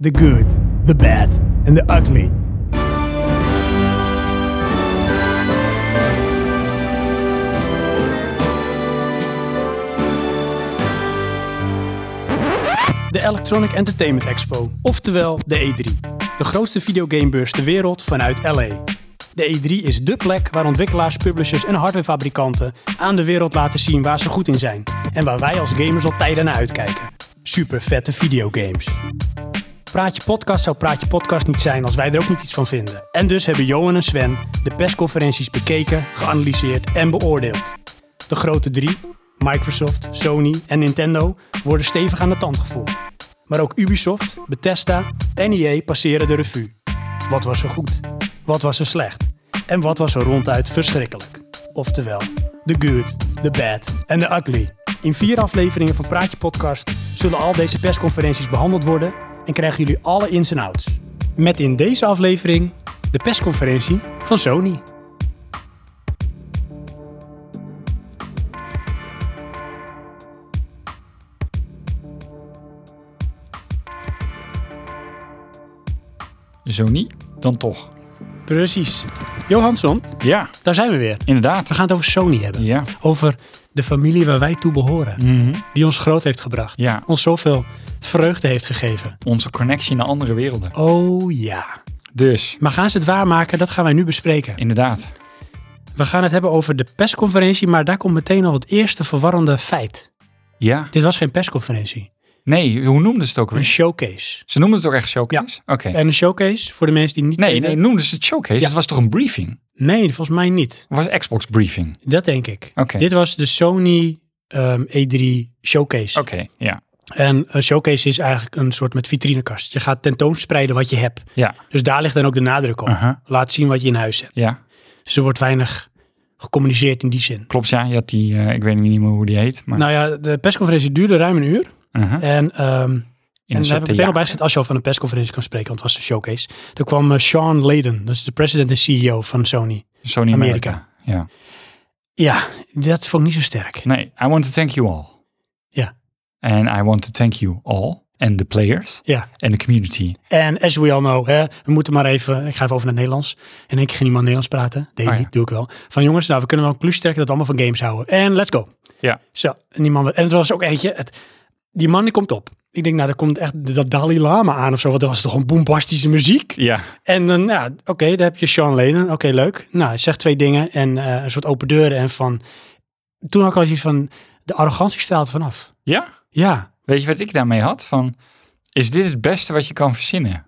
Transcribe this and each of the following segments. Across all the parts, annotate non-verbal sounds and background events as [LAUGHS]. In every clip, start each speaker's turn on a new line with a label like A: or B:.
A: the good, the bad and the ugly. De Electronic Entertainment Expo, oftewel de E3. De grootste videogamebeurs ter wereld vanuit LA. De E3 is dé plek waar ontwikkelaars, publishers en hardwarefabrikanten aan de wereld laten zien waar ze goed in zijn en waar wij als gamers al tijden naar uitkijken. Super vette videogames. Praatje Podcast zou Praatje Podcast niet zijn als wij er ook niet iets van vinden. En dus hebben Johan en Sven de persconferenties bekeken, geanalyseerd en beoordeeld. De grote drie, Microsoft, Sony en Nintendo, worden stevig aan de tand gevoeld. Maar ook Ubisoft, Bethesda en EA passeren de revue. Wat was er goed? Wat was er slecht? En wat was er ronduit verschrikkelijk? Oftewel, the good, the bad en the ugly. In vier afleveringen van Praatje Podcast zullen al deze persconferenties behandeld worden en krijgen jullie alle ins en outs. Met in deze aflevering de persconferentie van Sony.
B: Zo niet, dan toch.
A: Precies. Johansson,
B: Ja,
A: daar zijn we weer.
B: inderdaad.
A: We gaan het over Sony hebben.
B: Ja.
A: Over de familie waar wij toe behoren.
B: Mhm.
A: Die ons groot heeft gebracht.
B: ja,
A: Ons zoveel vreugde heeft gegeven.
B: onze connectie naar andere werelden.
A: Oh ja.
B: Dus,
A: Maar gaan ze het waarmaken? Dat gaan wij nu bespreken.
B: inderdaad.
A: We gaan het hebben over de persconferentie, maar daar komt meteen al het eerste verwarrende feit.
B: Ja.
A: Dit was geen persconferentie.
B: Nee, hoe noemden ze het ook
A: Een
B: weer?
A: showcase.
B: Ze noemden het ook echt showcase? Oké.
A: En een showcase, voor de mensen die niet
B: Nee,
A: weten-
B: nee, noemden ze het showcase?
A: Ja.
B: Het was toch een briefing?
A: Nee, volgens mij niet.
B: Of was het Xbox briefing?
A: Dat denk ik.
B: Oké.
A: Dit was de Sony ehm, E3 showcase.
B: Oké, ja.
A: En een showcase is eigenlijk een soort met vitrinekast. Je gaat tentoonspreiden wat je hebt.
B: Ja.
A: Dus daar ligt dan ook de nadruk op.
B: Aha.
A: Laat zien wat je in huis hebt.
B: Ja,
A: Dus er wordt weinig gecommuniceerd in die zin.
B: klopt ja. Je had die, eh, ik weet niet meer hoe die heet, maar...
A: Nou ja, de persconferentie duurde ruim een uur.
B: aha.
A: En ehm,
B: In
A: en
B: een
A: daar heb
B: soort
A: ik meteen al
B: theater.
A: bij gezet, als je al van een persconferentie kan spreken, want het was de showcase. Er kwam eh, Sean Layden, dat is de president en CEO van Sony.
B: Sony
A: Amerika.
B: Amerika. Ja.
A: Ja, dat vond ik niet zo sterk.
B: Nee, I want to thank you all.
A: Ja.
B: And I want to thank you all. And the players.
A: Ja,
B: And the community.
A: en as we all know, hè, we moeten maar even, ik ga even over naar het Nederlands. En ik ging niemand Nederlands praten, deed ik
B: Oh ja.
A: niet, doe ik wel. Van jongens, nou we kunnen wel een plus trekken dat we allemaal van games houden. En let's go.
B: Ja.
A: Zo, en die man, en het was ook eentje, het, die man die komt op. Ik denk, nou, er komt echt de- dat Dalai Lama aan of zo. Want dat was toch een bombastische muziek.
B: Ja.
A: En dan, ja, oké, daar heb je Sean Lennon. Oké, leuk. Nou, hij zegt twee dingen en eh, een soort open deuren. En van, toen had ik al iets van, de arrogantie straalt vanaf.
B: Ja?
A: Ja,
B: Weet je wat ik daarmee had? Van, is dit het beste wat je kan verzinnen?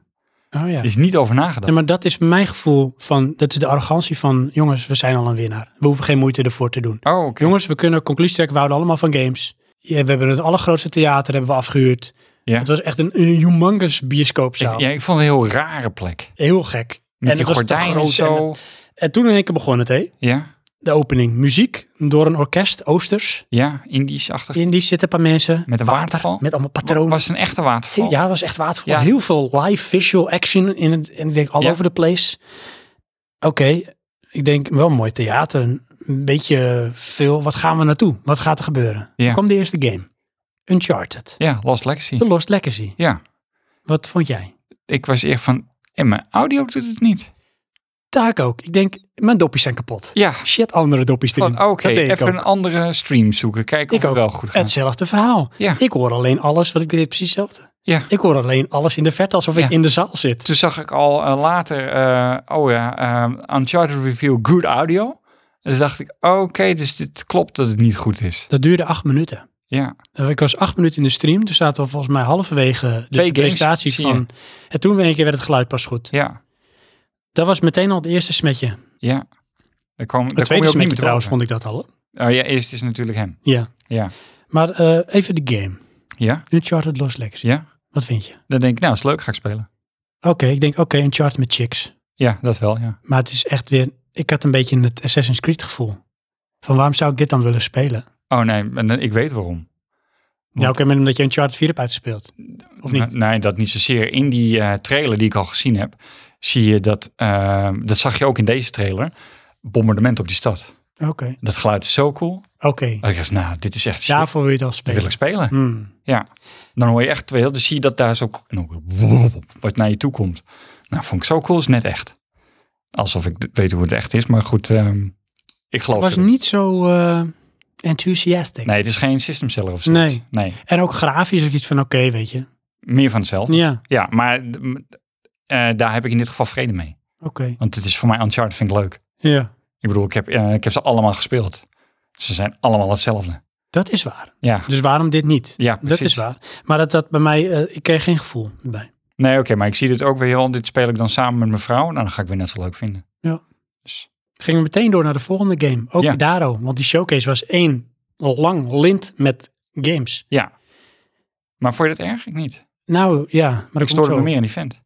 A: oh ja.
B: Is niet over nagedacht.
A: Nee, maar dat is mijn gevoel van, dat is de arrogantie van, jongens, we zijn al een winnaar. We hoeven geen moeite ervoor te doen.
B: Oh, oké.
A: Jongens, we kunnen conclusie trekken, we houden allemaal van games. Ja, we hebben het allergrootste theater hebben we afgehuurd.
B: Ja.
A: Het was echt een, een humongous bioscoopzaal.
B: Ik, ja, ik vond het een heel rare plek.
A: Heel gek.
B: Met
A: En
B: die
A: het was te
B: gordijnen
A: groot
B: en
A: en
B: zo.
A: En toen in één keer begon het, hè?
B: Ja,
A: De opening. Muziek door een orkest, Oosters.
B: ja, Indisch-achtig.
A: In die zitten een paar mensen.
B: Met een waterval?
A: Met allemaal patronen.
B: Was het een echte waterval?
A: ja, was echt waterval.
B: Ja.
A: Heel veel live visual action. In het, en ik denk all
B: Ja.
A: over the place. Oké, ik denk wel mooi theater. Een beetje veel. Wat gaan we naartoe? Wat gaat er gebeuren?
B: Ja.
A: Dan kwam de eerste game. Uncharted.
B: Ja, Lost Legacy.
A: The Lost Legacy.
B: Ja,
A: Wat vond jij?
B: ik was echt van, en mijn audio doet het niet.
A: Daar ook. Ik denk, mijn doppies zijn kapot.
B: Ja,
A: Shit, andere doppies erin.
B: van oh, oké,
A: Dat deed ik
B: even
A: ook.
B: een andere stream zoeken. Kijken
A: Ik
B: of het
A: ook.
B: wel goed gaat.
A: Hetzelfde verhaal.
B: Ja.
A: Ik hoor alleen alles, wat ik deed precies hetzelfde.
B: Ja.
A: Ik hoor alleen alles in de verte, alsof ik
B: Ja.
A: in de zaal zit.
B: Toen zag ik al eh, later, eh, oh ja, eh, Uncharted Reveal Good Audio. En toen dacht ik, oké, dus dit klopt dat het niet goed is.
A: Dat duurde acht minuten.
B: Ja,
A: Ik was acht minuten in de stream. Toen zaten we volgens mij halverwege dus de
B: games,
A: presentatie
B: zie je.
A: van... En toen in één keer werd het geluid pas goed.
B: ja,
A: Dat was meteen al het eerste smetje.
B: ja.
A: Het
B: Daar kwam, daar kom je
A: tweede
B: ook niet
A: smetje
B: meer
A: trouwens
B: boven.
A: vond ik dat al. hè?
B: Oh ja, eerst is natuurlijk hem.
A: Ja.
B: Ja.
A: Maar eh, even de game.
B: Ja,
A: Uncharted Lost Legacy.
B: ja.
A: Wat vind je?
B: Dan denk ik, nou, is leuk, ga ik spelen.
A: Oké, ik denk oké, Uncharted met chicks.
B: Ja, dat wel, ja.
A: Maar het is echt weer... Ik had een beetje het Assassin's Creed gevoel. Van waarom zou ik dit dan willen spelen?
B: Oh nee, en dan- ik weet waarom.
A: Nou, oké, maar omdat je Uncharted 4 hebt uitgespeeld. Of niet?
B: Nee, nee, dat niet zozeer. In die eh, trailer die ik al gezien heb, zie je dat, eh, dat zag je ook in deze trailer, bombardement op die stad.
A: Oké.
B: Dat geluid is zo cool.
A: Oké.
B: Dat ik dacht, nou, dit Nou, is echt shit.
A: Daarvoor wil je het al
B: Dit wil
A: spelen.
B: ik spelen.
A: Hmm.
B: Ja. Dan hoor je echt, weet je wel, dan zie je dat daar zo... en dan- wat naar je toe komt. Nou, vond ik zo cool, is net echt. Alsof ik d- weet hoe het echt is, maar goed, ehm, ik geloof
A: was
B: het.
A: niet zo eh enthusiastic.
B: Nee, het is geen system seller of zoiets.
A: Nee. En ook grafisch ook iets van oké, weet je.
B: meer van hetzelfde. Ja,
A: Ja,
B: maar d- m- eh, daar heb ik in dit geval vrede mee.
A: oké.
B: Want het is voor mij Uncharted, vind ik leuk.
A: Ja,
B: Ik bedoel, ik heb, eh, ik heb ze allemaal gespeeld. Ze zijn allemaal hetzelfde.
A: dat is waar.
B: Ja,
A: Dus waarom dit niet?
B: ja precies.
A: Dat is waar. Maar dat, dat bij mij, eh, ik kreeg geen gevoel bij.
B: Nee, oké, maar ik zie dit ook weer heel. Dit speel ik dan samen met mijn vrouw. Nou, dan ga ik weer net zo leuk vinden.
A: Gingen we meteen door naar de volgende game. Ook
B: Ja.
A: Daro, want die showcase was één lang lint met games.
B: Maar vond je dat erg? Ik niet.
A: Nou ja, maar dat
B: ik
A: komt
B: stoorde
A: zo.
B: me meer aan die vent.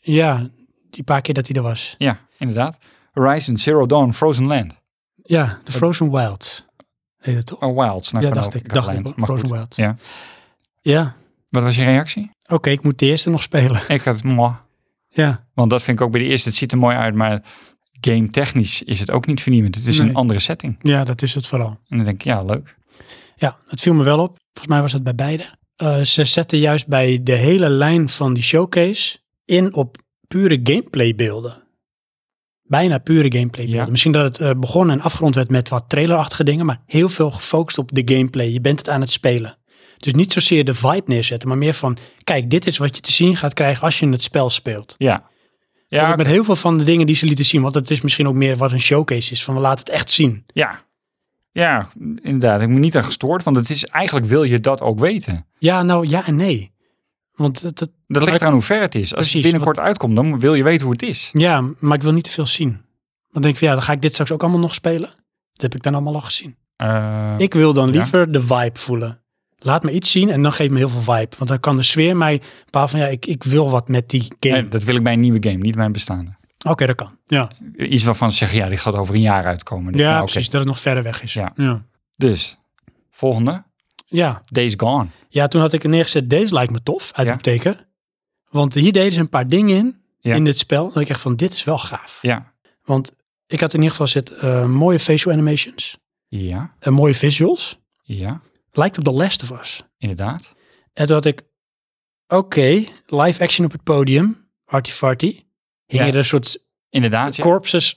A: Ja, die paar keer dat hij er was.
B: Ja, inderdaad. Horizon Zero Dawn Frozen Land.
A: Ja, de Frozen Wilds heet het toch?
B: Oh, Wilds. Nou,
A: ja,
B: kan
A: dacht
B: ook-
A: ik.
B: kan
A: Dacht
B: Land.
A: ik,
B: Maar
A: Frozen
B: goed.
A: Wilds.
B: Ja.
A: Ja,
B: Wat was je reactie?
A: oké, ik moet de eerste nog spelen. [LAUGHS]
B: Ik had mooi.
A: Ja,
B: Want dat vind ik ook bij de eerste. Het ziet er mooi uit, maar game technisch is het ook niet vernieuwend. Het is
A: Nee.
B: een andere setting.
A: ja dat is het vooral.
B: En dan denk ik, ja, leuk.
A: Ja, het viel me wel op. Volgens mij was het bij beide. Eh, ze zetten juist bij de hele lijn van die showcase in op pure gameplaybeelden. Bijna pure gameplaybeelden.
B: Ja.
A: Misschien dat het eh, begon en afgerond werd met wat trailerachtige dingen, maar heel veel gefocust op de gameplay. Je bent het aan het spelen. Dus niet zozeer de vibe neerzetten, maar meer van, kijk, dit is wat je te zien gaat krijgen als je het spel speelt.
B: Ja.
A: Ja,
B: Ja,
A: Met heel veel van de dingen die ze lieten zien, want het is misschien ook meer wat een showcase is, van we laten het echt zien.
B: ja. Ja, inderdaad. Ik ben niet aan gestoord, want het is eigenlijk wil je dat ook weten.
A: Ja, nou ja en nee. Want het, het-
B: Dat
A: Maar
B: ligt eraan hoe ver het is. Als
A: Precies,
B: het binnenkort uitkomt, dan wil je weten hoe het is.
A: Ja, maar ik wil niet te veel zien. Dan denk ik van ja, dan ga ik dit straks ook allemaal nog spelen. Dat heb ik dan allemaal al gezien.
B: Eh,
A: Ik wil dan
B: Ja.
A: liever de vibe voelen. Laat me iets zien en dan geef me heel veel vibe. Want dan kan de sfeer mij bepaal van ja, ik, ik wil wat met die game.
B: nee, dat wil ik bij een nieuwe game, niet bij een bestaande.
A: Oké, dat kan. Ja,
B: Iets waarvan ze zeggen, ja, dit gaat over een jaar uitkomen.
A: ja
B: Nou, oké.
A: precies. Dat het nog verder weg is.
B: Ja.
A: Ja.
B: Dus, volgende.
A: ja.
B: Days Gone.
A: Ja, toen had ik er neergezet, deze lijkt me tof, uit
B: Ja.
A: het teken. Want hier deden ze een paar dingen in,
B: Ja.
A: in dit spel. Dat ik echt van, dit is wel gaaf.
B: Ja.
A: Want ik had in ieder geval zit eh, mooie facial animations,
B: Ja.
A: en mooie visuals.
B: Ja.
A: Lijkt op The Last of Us.
B: Inderdaad.
A: En toen had ik, oké, live action op het podium, artifarty. Hingen
B: Ja.
A: er een soort
B: Inderdaad, ja.
A: corpses.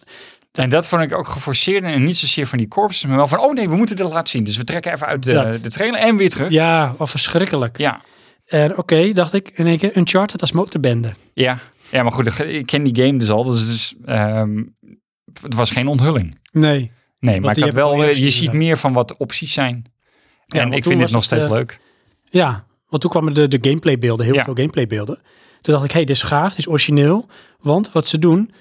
B: En dat vond ik ook geforceerd en niet zozeer van die corpses, maar wel van, oh nee, we moeten dit laten zien. Dus we trekken even uit de,
A: Dat.
B: de trailer en weer terug.
A: Ja, wat verschrikkelijk.
B: Ja.
A: En oké, dacht ik, in één keer Uncharted als motorbende.
B: Ja. Ja, maar goed, ik ken die game dus al, dus het, is, ehm, het was geen onthulling.
A: Nee.
B: Nee, maar ik
A: die
B: had
A: heb ik al
B: wel, eh,
A: eerder
B: je
A: gezien,
B: ziet meer van wat opties zijn.
A: Ja,
B: en
A: want
B: ik
A: toen
B: vind
A: was
B: het nog
A: het,
B: steeds
A: eh,
B: leuk.
A: Ja, want toen kwamen de, de gameplaybeelden, heel
B: Ja.
A: veel gameplaybeelden. Toen dacht ik, hé, hey, dit is gaaf, dit is origineel. Want wat ze doen,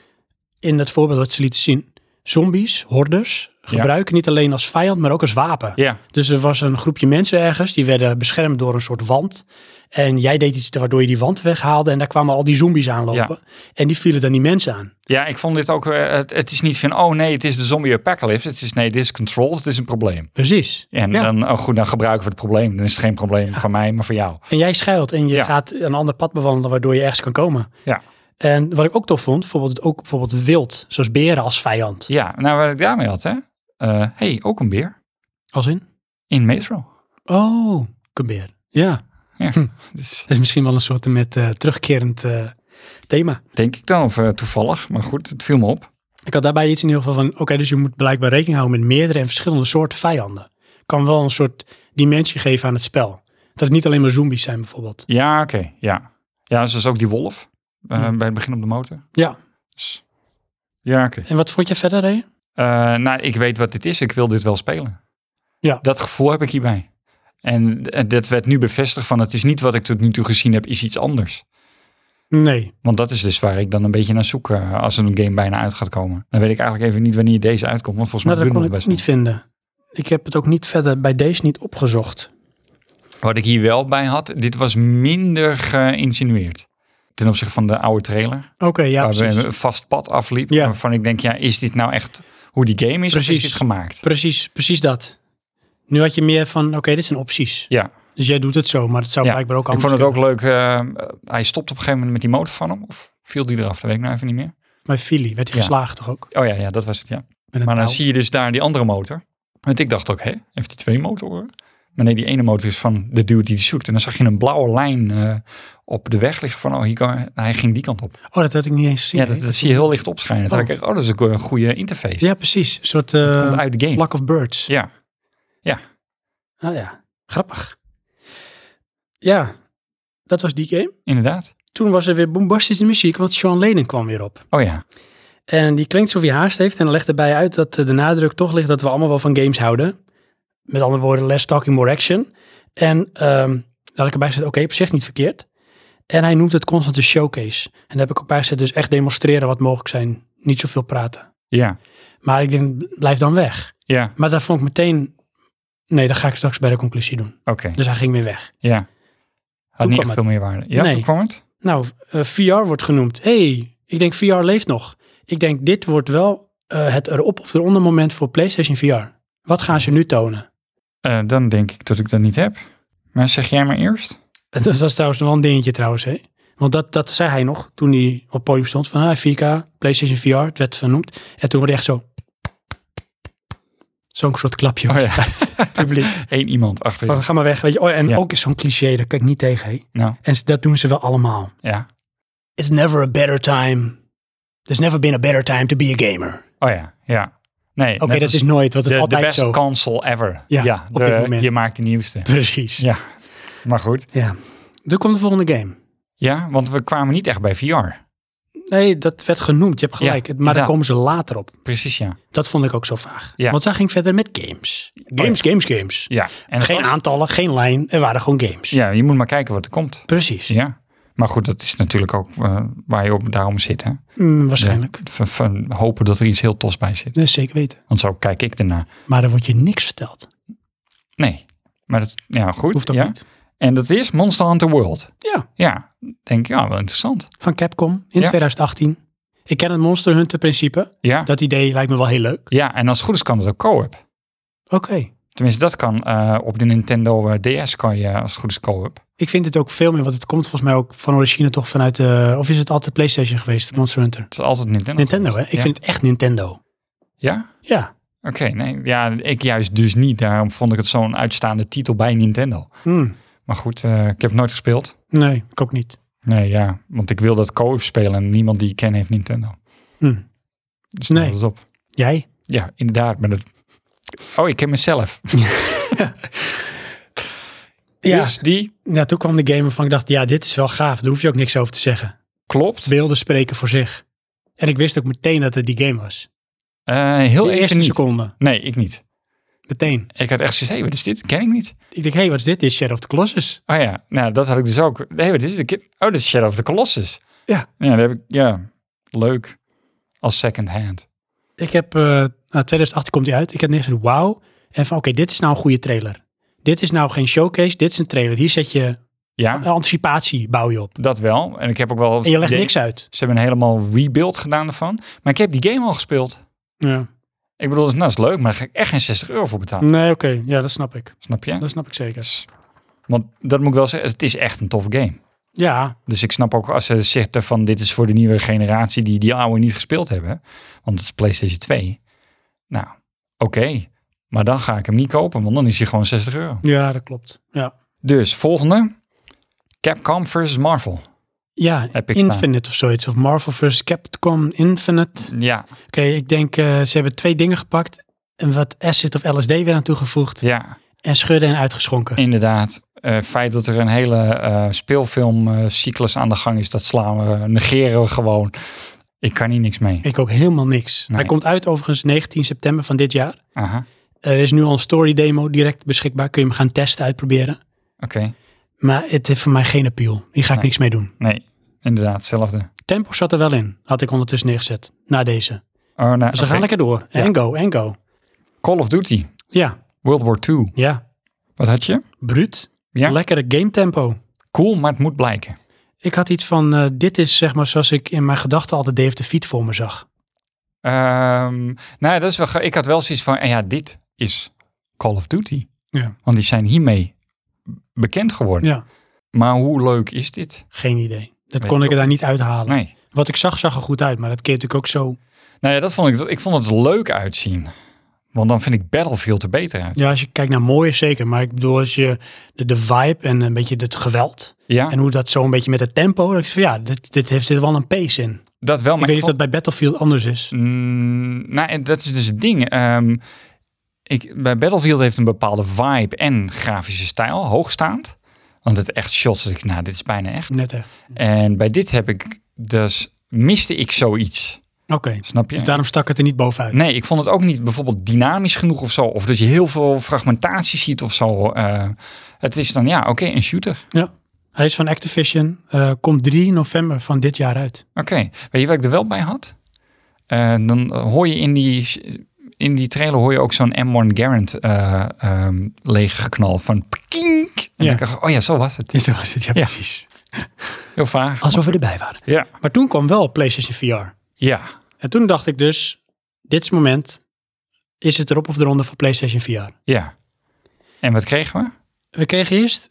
A: in het voorbeeld wat ze lieten zien, zombies, hordes, gebruiken niet alleen als vijand, maar ook als wapen.
B: Ja.
A: Dus er was een groepje mensen ergens, die werden beschermd door een soort wand. En jij deed iets waardoor je die wand weghaalde en daar kwamen al die zombies aanlopen. En die vielen dan die mensen aan.
B: Ja, ik vond dit ook. eh, het, het is niet van, oh nee, het is de zombie apocalypse. Het is nee, dit is controls, het is een probleem.
A: Precies.
B: En
A: Ja.
B: dan, oh goed, dan gebruiken we het probleem. Dan is het geen probleem van mij, maar van jou.
A: En jij schuilt en je
B: Ja.
A: gaat een ander pad bewandelen waardoor je ergens kan komen.
B: Ja.
A: En wat ik ook tof vond, bijvoorbeeld ook bijvoorbeeld wild, zoals beren als vijand.
B: Ja, nou wat ik daarmee had, hè? Eh, hey, ook een beer
A: Als in?
B: in Metro.
A: Oh, een beer. Ja,
B: Dus
A: dat is misschien wel een soort met eh, terugkerend eh, thema.
B: denk ik dan, of eh, toevallig, maar goed, het viel me op.
A: Ik had daarbij iets in ieder geval van, oké, dus je moet blijkbaar rekening houden met meerdere en verschillende soorten vijanden. Kan wel een soort dimensie geven aan het spel. Dat het niet alleen maar zombies zijn bijvoorbeeld.
B: Ja, oké, ja. Ja, dus dat is ook die wolf eh,
A: Ja.
B: bij het begin op de motor.
A: Ja.
B: Dus- ja, oké.
A: En wat vond je verder, Ray?
B: Eh, nou, ik weet wat dit is. Ik wil dit wel spelen.
A: Ja.
B: Dat gevoel heb ik hierbij. En eh, dat werd nu bevestigd van het is niet wat ik tot nu toe gezien heb, is iets anders.
A: Nee.
B: Want dat is dus waar ik dan een beetje naar zoek eh, als een game bijna uit gaat komen. Dan weet ik eigenlijk even niet wanneer deze uitkomt, want volgens mij
A: Nou, dat
B: duurt
A: kon
B: het
A: ik
B: nog
A: niet
B: best
A: vinden. Ik heb het ook niet verder bij deze niet opgezocht.
B: lang. Wat ik hier wel bij had, dit was minder geïnsinueerd. Ten opzichte van de oude trailer,
A: Oké, ja,
B: waar
A: precies.
B: Ah, we een vast pad afliep.
A: Ja.
B: Waarvan ik denk, ja, is dit nou echt hoe die game is of
A: Precies.
B: is dit gemaakt?
A: Precies, precies dat. Nu had je meer van, oké, dit zijn opties.
B: Ja.
A: Dus jij doet het zo, maar het zou
B: Ja,
A: blijkbaar ook
B: Ik
A: anders
B: vond het ook
A: kunnen.
B: leuk. eh, hij stopt op een gegeven moment met die motor van hem. Of viel die eraf? Dat weet ik nou even niet meer.
A: Bij Philly werd hij
B: Ja.
A: geslagen toch ook?
B: Oh ja, ja dat was het, ja.
A: Met een
B: Maar dan
A: touw.
B: zie je dus daar die andere motor. Want ik dacht ook, hè, heeft hij twee motoren? Maar nee, die ene motor is van de dude die die zoekt. En dan zag je een blauwe lijn eh, op de weg liggen van, oh, hier kan, hij ging die kant op.
A: Oh, dat had ik niet eens gezien.
B: Ja, dat, dat zie je heel licht opschijnen. Toen
A: Oh.
B: dacht ik echt, oh, dat is ook een goede interface.
A: Ja, precies. Een soort
B: Komt
A: eh
B: uit de game.
A: flock of birds.
B: Ja.
A: Ah ja, grappig. Ja, dat was die game.
B: Inderdaad.
A: Toen was er weer bombastische muziek, want Sean Lennon kwam weer op.
B: Oh ja.
A: En die klinkt alsof hij haast heeft en legt erbij uit dat eh, de nadruk toch ligt dat we allemaal wel van games houden. Met andere woorden, less talking, more action. En ehm daar had ik erbij gezet, oké, op zich niet verkeerd. En hij noemt het constant een showcase. En daar heb ik ook bij gezet, dus echt demonstreren wat mogelijk zijn. Niet zoveel praten.
B: Ja.
A: Maar ik denk, blijf dan weg.
B: Ja.
A: Maar daar vond ik meteen, nee, dat ga ik straks bij de conclusie doen.
B: Oké.
A: Dus hij ging weer weg.
B: Ja. Had
A: Hoe
B: niet
A: kwam
B: echt veel
A: het?
B: meer waarde. Ja,
A: Nee.
B: hoe kwam het?
A: Nou, eh, VR wordt genoemd. hey, ik denk VR leeft nog. Ik denk dit wordt wel eh, het erop of eronder moment voor PlayStation VR. Wat gaan ze nu tonen? [LAUGHS]
B: Eh, dan denk ik dat ik dat niet heb. Maar zeg jij maar eerst.
A: Dat was trouwens nog wel een dingetje trouwens, hè? Want dat, dat zei hij nog toen hij op het podium stond van ah, 4K, PlayStation VR, het werd vernoemd. En toen werd echt zo... Zo'n soort klapje
B: Oh ja.
A: uit het [LAUGHS] [LAUGHS] publiek.
B: Eén iemand achter je.
A: Van, ga maar weg, weet je. Oh, en
B: Ja.
A: ook is zo'n cliché, daar kan ik niet tegen, hè?
B: Nou,
A: En dat doen ze wel allemaal.
B: ja.
A: It's never a better time. There's never been a better time to be a gamer.
B: Oh ja, ja. Nee,
A: Oké,
B: net
A: dat
B: als
A: is nooit, want het
B: de,
A: is
B: de
A: altijd
B: best
A: zo.
B: console ever.
A: Ja,
B: Ja,
A: op dit
B: de-
A: moment.
B: je maakt de nieuwste.
A: [LAUGHS] Precies. Ja.
B: Ja. Maar goed.
A: Dan komt de volgende game.
B: Ja, want we kwamen niet echt bij VR.
A: Nee, dat werd genoemd, je hebt
B: Ja,
A: gelijk. Het- maar daar
B: inderdaad.
A: komen ze later op.
B: Precies, ja.
A: Dat vond ik ook zo vaag.
B: Ja. Oh,
A: Want zij ging verder met games. Games, games, games.
B: Ja. En het
A: Geen
B: was-
A: aantallen, geen lijn, er waren gewoon games.
B: Ja, je moet maar kijken wat er komt.
A: Precies.
B: Ja. Maar goed, dat is natuurlijk ook eh, waar je op daarom zit, hè. Dus,
A: Mm, waarschijnlijk.
B: Ja, van, van hopen dat er iets heel tofs bij zit.
A: Nee, zeker weten.
B: Want zo kijk ik ernaar.
A: Maar daar wordt je niks verteld.
B: Nee. Maar dat, ja, goed.
A: Hoeft ook
B: ja.
A: niet.
B: En dat is Monster Hunter World.
A: Ja,
B: Ja, denk ik, ja, wel interessant.
A: van Capcom in
B: Ja.
A: 2018. Ik ken het Monster Hunter principe.
B: Ja.
A: Dat idee lijkt me wel heel leuk.
B: ja, en als het goed is kan het ook co-op.
A: Oké.
B: Tenminste, dat kan eh, op de Nintendo eh, DS kan je als het goed is co-op.
A: Ik vind het ook veel meer, want het komt volgens mij ook van origine toch vanuit de... Of is het altijd PlayStation geweest, Monster Hunter?
B: Het is altijd Nintendo.
A: Nintendo, hè?
B: geweest.
A: Ik
B: ja.
A: vind het echt Nintendo.
B: Ja?
A: Ja.
B: Oké, nee. Ja, ik juist dus niet. Daarom vond ik het zo'n uitstaande titel bij Nintendo.
A: Hmm.
B: Maar goed, eh, ik heb het nooit gespeeld.
A: Nee, ik ook niet.
B: Nee, ja. Want ik wil dat co-op spelen en niemand die ik ken heeft Nintendo.
A: Hmm.
B: Dus
A: Nee.
B: nee. dat is op.
A: Jij?
B: Ja, inderdaad. Maar dat... Oh, ik ken mezelf.
A: Ja.
B: Dus die
A: ja, toen kwam de game waarvan ik dacht, ja, dit is wel gaaf. Daar hoef je ook niks over te zeggen.
B: klopt.
A: Beelden spreken voor zich. En ik wist ook meteen dat het die game was.
B: Eh, heel
A: De eerste
B: even niet.
A: seconde.
B: Nee, ik niet.
A: Meteen.
B: Ik had echt zoiets, hé, wat is dit? Ken ik niet.
A: Ik denk, hé, hey, wat is dit? Dit is Shadow of the Colossus.
B: Oh ja, nou, dat had ik dus ook. Hé, wat is dit? Ik- Oh, dit is Shadow of the Colossus.
A: Ja.
B: Ja, dat heb ik, ja, leuk. Als second hand.
A: Ik heb, eh nou, 2018 komt hij uit. Ik had niks van, wauw. En van, oké, dit is nou een goede trailer. Dit is nou geen showcase, dit is een trailer. Hier zet je
B: Ja,
A: anticipatie, bouw je op.
B: dat wel. En ik heb ook wel...
A: En je legt
B: idee-
A: niks uit.
B: Ze hebben een helemaal rebuild gedaan ervan. Maar ik heb die game al gespeeld.
A: Ja.
B: Ik bedoel, nou, dat is leuk, maar daar ga ik echt geen 60 euro voor betalen.
A: Nee, oké. Ja, dat snap ik.
B: Snap je?
A: Dat snap ik zeker.
B: Dus- want dat moet ik wel zeggen, het is echt een toffe game.
A: Ja,
B: Dus ik snap ook als ze zeggen van dit is voor de nieuwe generatie die die oude niet gespeeld hebben. Want het is PlayStation 2. Nou, oké. Maar dan ga ik hem niet kopen, want dan is hij gewoon 60 euro.
A: ja, dat klopt. Ja.
B: Dus volgende. Capcom versus Marvel.
A: Ja,
B: Epic staan.
A: Infinite of zoiets. Of Marvel vs. Capcom Infinite.
B: Ja,
A: Oké, ik denk eh, ze hebben twee dingen gepakt. En wat acid of LSD weer aan toegevoegd.
B: ja,
A: En schudden en uitgeschonken.
B: inderdaad. Eh feit dat er een hele eh, speelfilmcyclus aan de gang is, dat slaan we, negeren we gewoon. Ik kan hier niks mee.
A: Ik ook helemaal niks.
B: Nee.
A: Hij komt uit overigens 19 september van dit jaar.
B: Aha,
A: Er is nu al een story demo direct beschikbaar. Kun je hem gaan testen, uitproberen.
B: oké.
A: Maar het heeft voor mij geen appeal. Hier ga ik
B: Nee.
A: niks mee doen.
B: Nee, inderdaad, hetzelfde.
A: Tempo zat er wel in. Had ik ondertussen neergezet. Na deze. Dus
B: Oh, nou,
A: we gaan
B: oké.
A: lekker door.
B: Ja.
A: En go, en go.
B: Call of Duty,
A: Ja,
B: World War II.
A: ja.
B: Wat had je?
A: Bruut.
B: Ja.
A: Lekkere game tempo.
B: Cool, maar het moet blijken.
A: Ik had iets van, eh, dit is zeg maar zoals ik in mijn gedachten altijd Dave de Fiet voor me zag.
B: Ehm, nou, ja, dat is wel. ge- Ik had wel zoiets van, eh, ja, dit is Call of Duty.
A: Ja.
B: Want die zijn hiermee bekend geworden.
A: Ja,
B: Maar hoe leuk is dit?
A: geen idee. Dat
B: Weet
A: kon
B: ik
A: ik er daar niet uithalen.
B: Nee.
A: Wat ik zag, zag er goed uit, maar dat keert natuurlijk ook zo.
B: Nou ja, dat vond ik. Ik vond het leuk uitzien. Want dan vind ik Battlefield er beter uit.
A: Ja, als je kijkt naar mooi zeker. Maar ik bedoel, als je de, de vibe en een beetje het geweld.
B: Ja,
A: En hoe dat zo een beetje met het tempo. Dat ik zeg van, ja, dit, dit heeft zit wel een pace in.
B: dat wel.
A: ik weet
B: Maar ik
A: niet of
B: vond-
A: dat bij Battlefield anders is.
B: Mm, nou, en dat is dus het ding. Ehm, ik, bij Battlefield heeft een bepaalde vibe en grafische stijl, hoogstaand. Want het echt shots, dat ik, nou, dit is bijna echt.
A: Net echt.
B: En bij dit heb ik dus, miste ik zoiets.
A: Oké.
B: Snap je?
A: Dus daarom stak het er niet bovenuit.
B: Nee, ik vond het ook niet bijvoorbeeld dynamisch genoeg of zo. Of dat je heel veel fragmentatie ziet of zo. Eh, het is dan, ja, oké, een shooter.
A: Hij is van Activision. eh, komt 3 november van dit jaar uit.
B: Oké, weet je wat ik er wel bij had? Eh, dan hoor je in die, in die trailer hoor je ook zo'n M1 Garant eh ehm, leeg geknal van pkink. En
A: Ja.
B: ik dacht, oh ja, zo was het.
A: Zo was het, ja,
B: [LAUGHS] Ja.
A: precies.
B: Heel vaag.
A: Alsof we erbij waren.
B: Ja,
A: Maar toen kwam wel PlayStation VR.
B: ja.
A: En toen dacht ik dus, dit is het moment. Is het erop of eronder voor PlayStation VR?
B: Ja. En wat kregen we?
A: We kregen eerst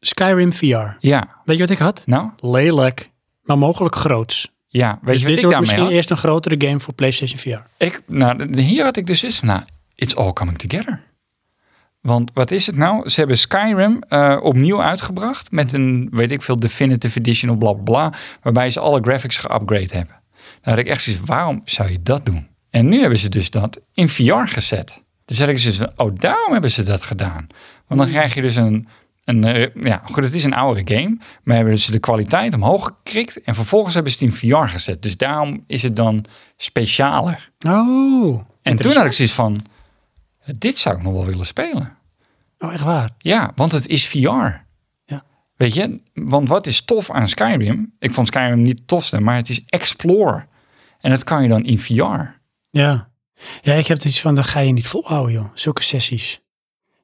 A: Skyrim VR.
B: Ja.
A: Weet je wat ik had?
B: Nou,
A: Lelijk, maar mogelijk groots.
B: ja. Weet
A: dus dit
B: je wat ik
A: wordt
B: daarmee
A: misschien
B: had?
A: eerst een grotere game voor PlayStation VR.
B: Ik, nou, de- hier had ik dus eens, nou, it's all coming together. Want wat is het nou? Ze hebben Skyrim eh, opnieuw uitgebracht met een, weet ik veel, definitive edition of bla bla bla, waarbij ze alle graphics geupgrade hebben. Nou had ik echt zoiets, waarom zou je dat doen? En nu hebben ze dus dat in VR gezet. Dus had ik zoiets van, oh, daarom hebben ze dat gedaan. Want dan krijg je dus een, een eh, ja, goed, het is een oudere game, maar hebben ze de kwaliteit omhoog gekrikt en vervolgens hebben ze het in VR gezet. Dus daarom is het dan specialer.
A: Oh.
B: En toen had ik zoiets van, dit zou ik nog wel willen spelen.
A: Oh, echt waar?
B: Ja, want het is VR.
A: Ja.
B: Weet je, want wat is tof aan Skyrim? Ik vond Skyrim niet het tofste, maar het is explore. En dat kan je dan in VR.
A: Ja. Ja, ik heb iets van, dat ga je niet volhouden, joh. Zulke sessies.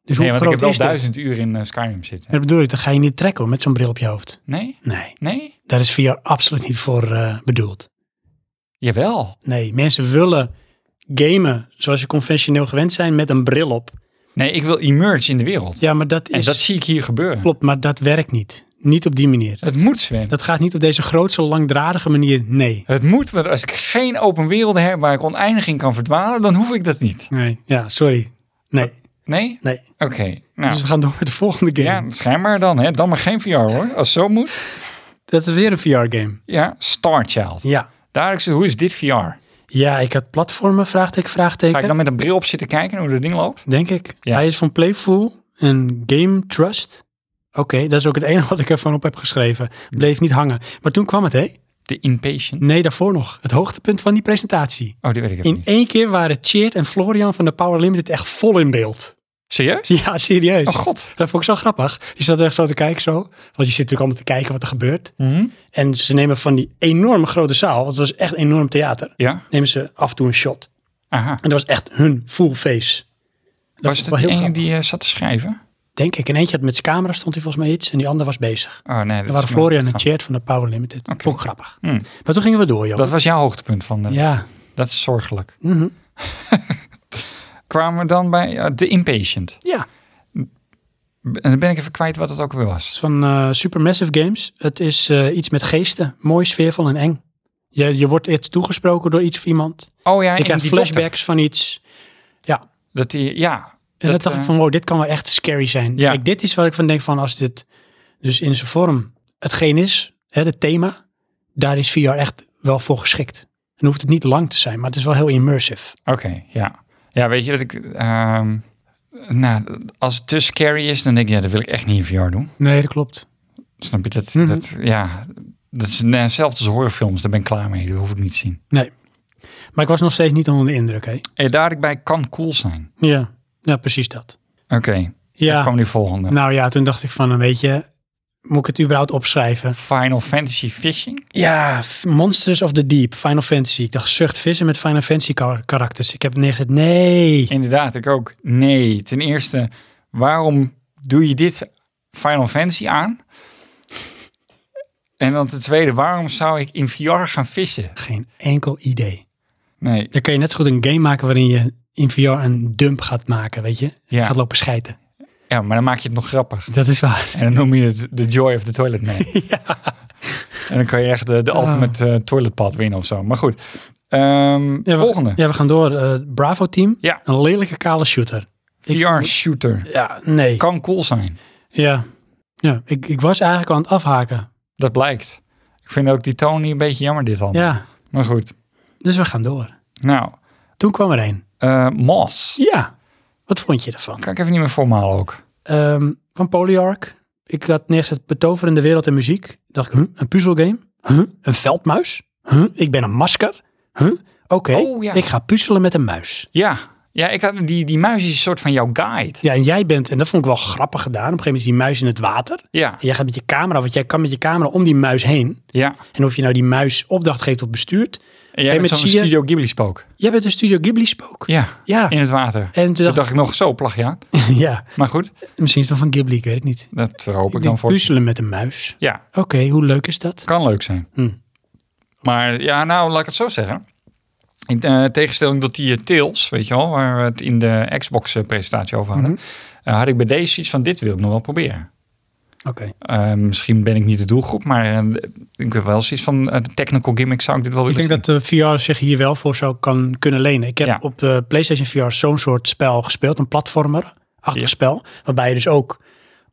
A: Dus hoe
B: Nee, want ik
A: groot
B: heb wel
A: is dat?
B: duizend uur in eh, Skyrim zitten.
A: Dat bedoel ik, dat ga je niet trekken hoor, met zo'n bril op je hoofd.
B: Nee?
A: Nee,
B: Nee?
A: daar is VR absoluut niet voor eh, bedoeld.
B: Jawel.
A: Nee, mensen willen gamen zoals ze conventioneel gewend zijn met een bril op.
B: Nee, ik wil immerse in de wereld.
A: Ja, maar dat
B: En
A: is...
B: dat zie ik hier gebeuren.
A: Klopt, maar dat werkt niet. Niet op die manier.
B: Het moet, Sven.
A: Dat gaat niet op deze grootse, langdradige manier. Nee.
B: Het moet, want als ik geen open werelden heb waar ik oneindig in kan verdwalen, dan hoef ik dat niet.
A: Nee, ja, sorry. Nee,
B: Nee?
A: nee.
B: Oké. Nou,
A: Dus we gaan door met de volgende game.
B: Ja, schijnbaar dan, hè? Dan maar geen VR hoor. Als zo moet.
A: Dat is weer een VR-game.
B: Ja, Star Child.
A: Ja.
B: Daar heb ik zo, hoe is dit VR? Ga
A: Ja, ik had platformen, vraagteken, vraagteken.
B: ik dan met een bril op zitten kijken hoe dat ding loopt?
A: Denk ik.
B: Ja.
A: Hij is van Playful en Game Trust. Oké, dat is ook het [LAUGHS] enige wat ik ervan op heb geschreven. Bleef niet hangen. Maar toen kwam het, hè?
B: De Impatient.
A: Nee, daarvoor nog. Het hoogtepunt van die presentatie.
B: Oh, die weet ik even
A: In
B: niet.
A: één keer waren Cheert en Florian van de Power Limited echt vol in beeld. [LAUGHS]
B: Serieus?
A: Ja, serieus.
B: Oh god.
A: Dat vond ik zo grappig. Je zat er echt zo te kijken zo. Want je zit natuurlijk allemaal te kijken wat er gebeurt. En ze nemen van die enorme grote zaal, want het was echt een enorm theater,
B: Ja,
A: nemen ze af en toe een shot.
B: aha.
A: En dat was echt hun full face. Dat
B: Was
A: vond
B: dat
A: ik
B: de
A: wel heel
B: ene
A: grappig.
B: die eh, zat te schrijven?
A: Denk ik. En eentje had met zijn camera stond hij volgens mij iets en die ander was bezig.
B: Oh nee, dat
A: Dat waren
B: is maar-
A: Florian en
B: grap.
A: Chad van de Power Limited.
B: Oké.
A: Vond ik grappig.
B: Hmm.
A: Maar toen gingen we door, joh.
B: Dat was jouw hoogtepunt van de...
A: Ja.
B: Dat is zorgelijk.
A: Mhm.
B: Kwamen we dan bij eh, de Impatient.
A: Ja.
B: En dan ben ik even kwijt wat het ook weer
A: Het
B: was.
A: is van eh, Supermassive Games. Het is eh, iets met geesten. Mooi, sfeervol en eng. Je, je wordt iets toegesproken door iets of iemand.
B: Oh ja,
A: Ik
B: en
A: krijg
B: die dokter.
A: flashbacks van iets.
B: Dat die, ja,
A: En
B: Dat,
A: dat, dacht
B: eh,
A: ik van, wow, dit kan wel echt scary zijn.
B: Ja.
A: Kijk, dit is waar ik van denk van, als dit dus in zijn vorm hetgeen is, hè, het thema, daar is VR echt wel voor geschikt. En hoeft het niet lang te zijn, maar het is wel heel immersive.
B: Oké, ja. Ja, weet je dat ik... ehm, nou, als het te scary is, dan denk ik, ja, dat wil ik echt niet in VR doen.
A: Nee, dat klopt.
B: Snap je? Dat,
A: Mhm.
B: dat ja, dat is nee, zelfs als horrorfilms, daar ben ik klaar mee. Dat hoef ik niet te zien.
A: Maar ik was nog steeds niet onder de indruk, hè?
B: En daar ik bij kan cool zijn.
A: Ja, ja precies dat.
B: Oké, dan
A: Ja,
B: kwam die volgende.
A: nou ja, toen dacht ik van, weet je, moet ik het überhaupt opschrijven?
B: Final Fantasy Fishing.
A: Ja, F- Monsters of the Deep, Final Fantasy. Ik dacht, zucht vissen met Final Fantasy kar- karakters. Ik heb het neergezet, nee.
B: Inderdaad, ik ook. Nee, ten eerste, waarom doe je dit Final Fantasy aan? En dan ten tweede, waarom zou ik in VR gaan vissen?
A: Geen enkel idee.
B: Nee,
A: Dan kun je net zo goed een game maken waarin je in VR een dump gaat maken, weet je?
B: Ja.
A: Gaat lopen schijten.
B: ja, maar dan maak je het nog grappig.
A: Dat is waar.
B: En dan noem je het de Joy of the
A: [LAUGHS] Ah.
B: Toilet Man. En dan kan je echt de, de ultimate eh, toiletpad winnen of zo. Maar goed, Ehm,
A: Ja, we,
B: volgende.
A: Ja, we gaan door. eh, Bravo Team.
B: Ja.
A: Een lelijke kale shooter. Ik-
B: VR-shooter.
A: Ja, nee.
B: Kan cool zijn.
A: Ja. Ja, ik, ik was eigenlijk aan het afhaken.
B: Dat blijkt. Ik vind ook die Tony een beetje jammer dit al.
A: Ja.
B: Maar goed.
A: Dus we gaan door.
B: Nou,
A: Toen kwam er een.
B: eh Moss.
A: Ja. Wat vond je ervan?
B: Kan ik even niet meer voormalen ook.
A: Ehm, van Polyarch. Ik had neergezet Betoverende Wereld en Muziek. Dacht ik, huh, een puzzelgame? Huh, een veldmuis? Huh, ik ben een masker? Huh, oké.
B: Oh, ja.
A: Ik ga puzzelen met een muis.
B: Ja. Ja, ik had, die, die muis is een soort van jouw guide.
A: Ja, en jij bent, en dat vond ik wel grappig gedaan. Op een gegeven moment is die muis in het water.
B: Ja.
A: En jij gaat met je camera, want jij kan met je camera om die muis heen.
B: Ja.
A: En of je nou die muis opdracht geeft of bestuurt.
B: En jij
A: Hey, met
B: bent zo'n
A: zie je-
B: Studio Ghibli-spook.
A: Jij bent een Studio Ghibli spook.
B: Ja.
A: Ja.
B: In het
A: [LAUGHS]
B: water.
A: En toen
B: Toen
A: dacht
B: dacht ik nog zo, plagiaat.
A: ik, [LAUGHS] ja,
B: Maar goed,
A: misschien is dat van Ghibli, ik weet het niet.
B: dat hoop ik
A: Ik
B: dan
A: denk
B: voor.
A: puzzelen met een muis.
B: Ja,
A: Oké, hoe leuk is dat?
B: Kan leuk zijn.
A: Hm.
B: Maar ja, nou, laat ik het zo zeggen. In eh, tegenstelling tot die eh, Tails, weet je wel, waar we het in de Xbox-presentatie over hadden,
A: Mhm.
B: eh, had ik bij deze iets van: dit wil ik nog wel proberen.
A: Oké.
B: Eh, misschien ben ik niet de doelgroep, maar eh, ik heb wel zoiets van: eh, technical gimmick zou ik dit wel
A: Ik
B: willen
A: denk dat de VR zich hier wel voor zou kan, kunnen lenen. Ik heb
B: Ja.
A: op de PlayStation VR zo'n soort spel gespeeld, een platformer, achtig
B: Ja.
A: spel, waarbij je dus ook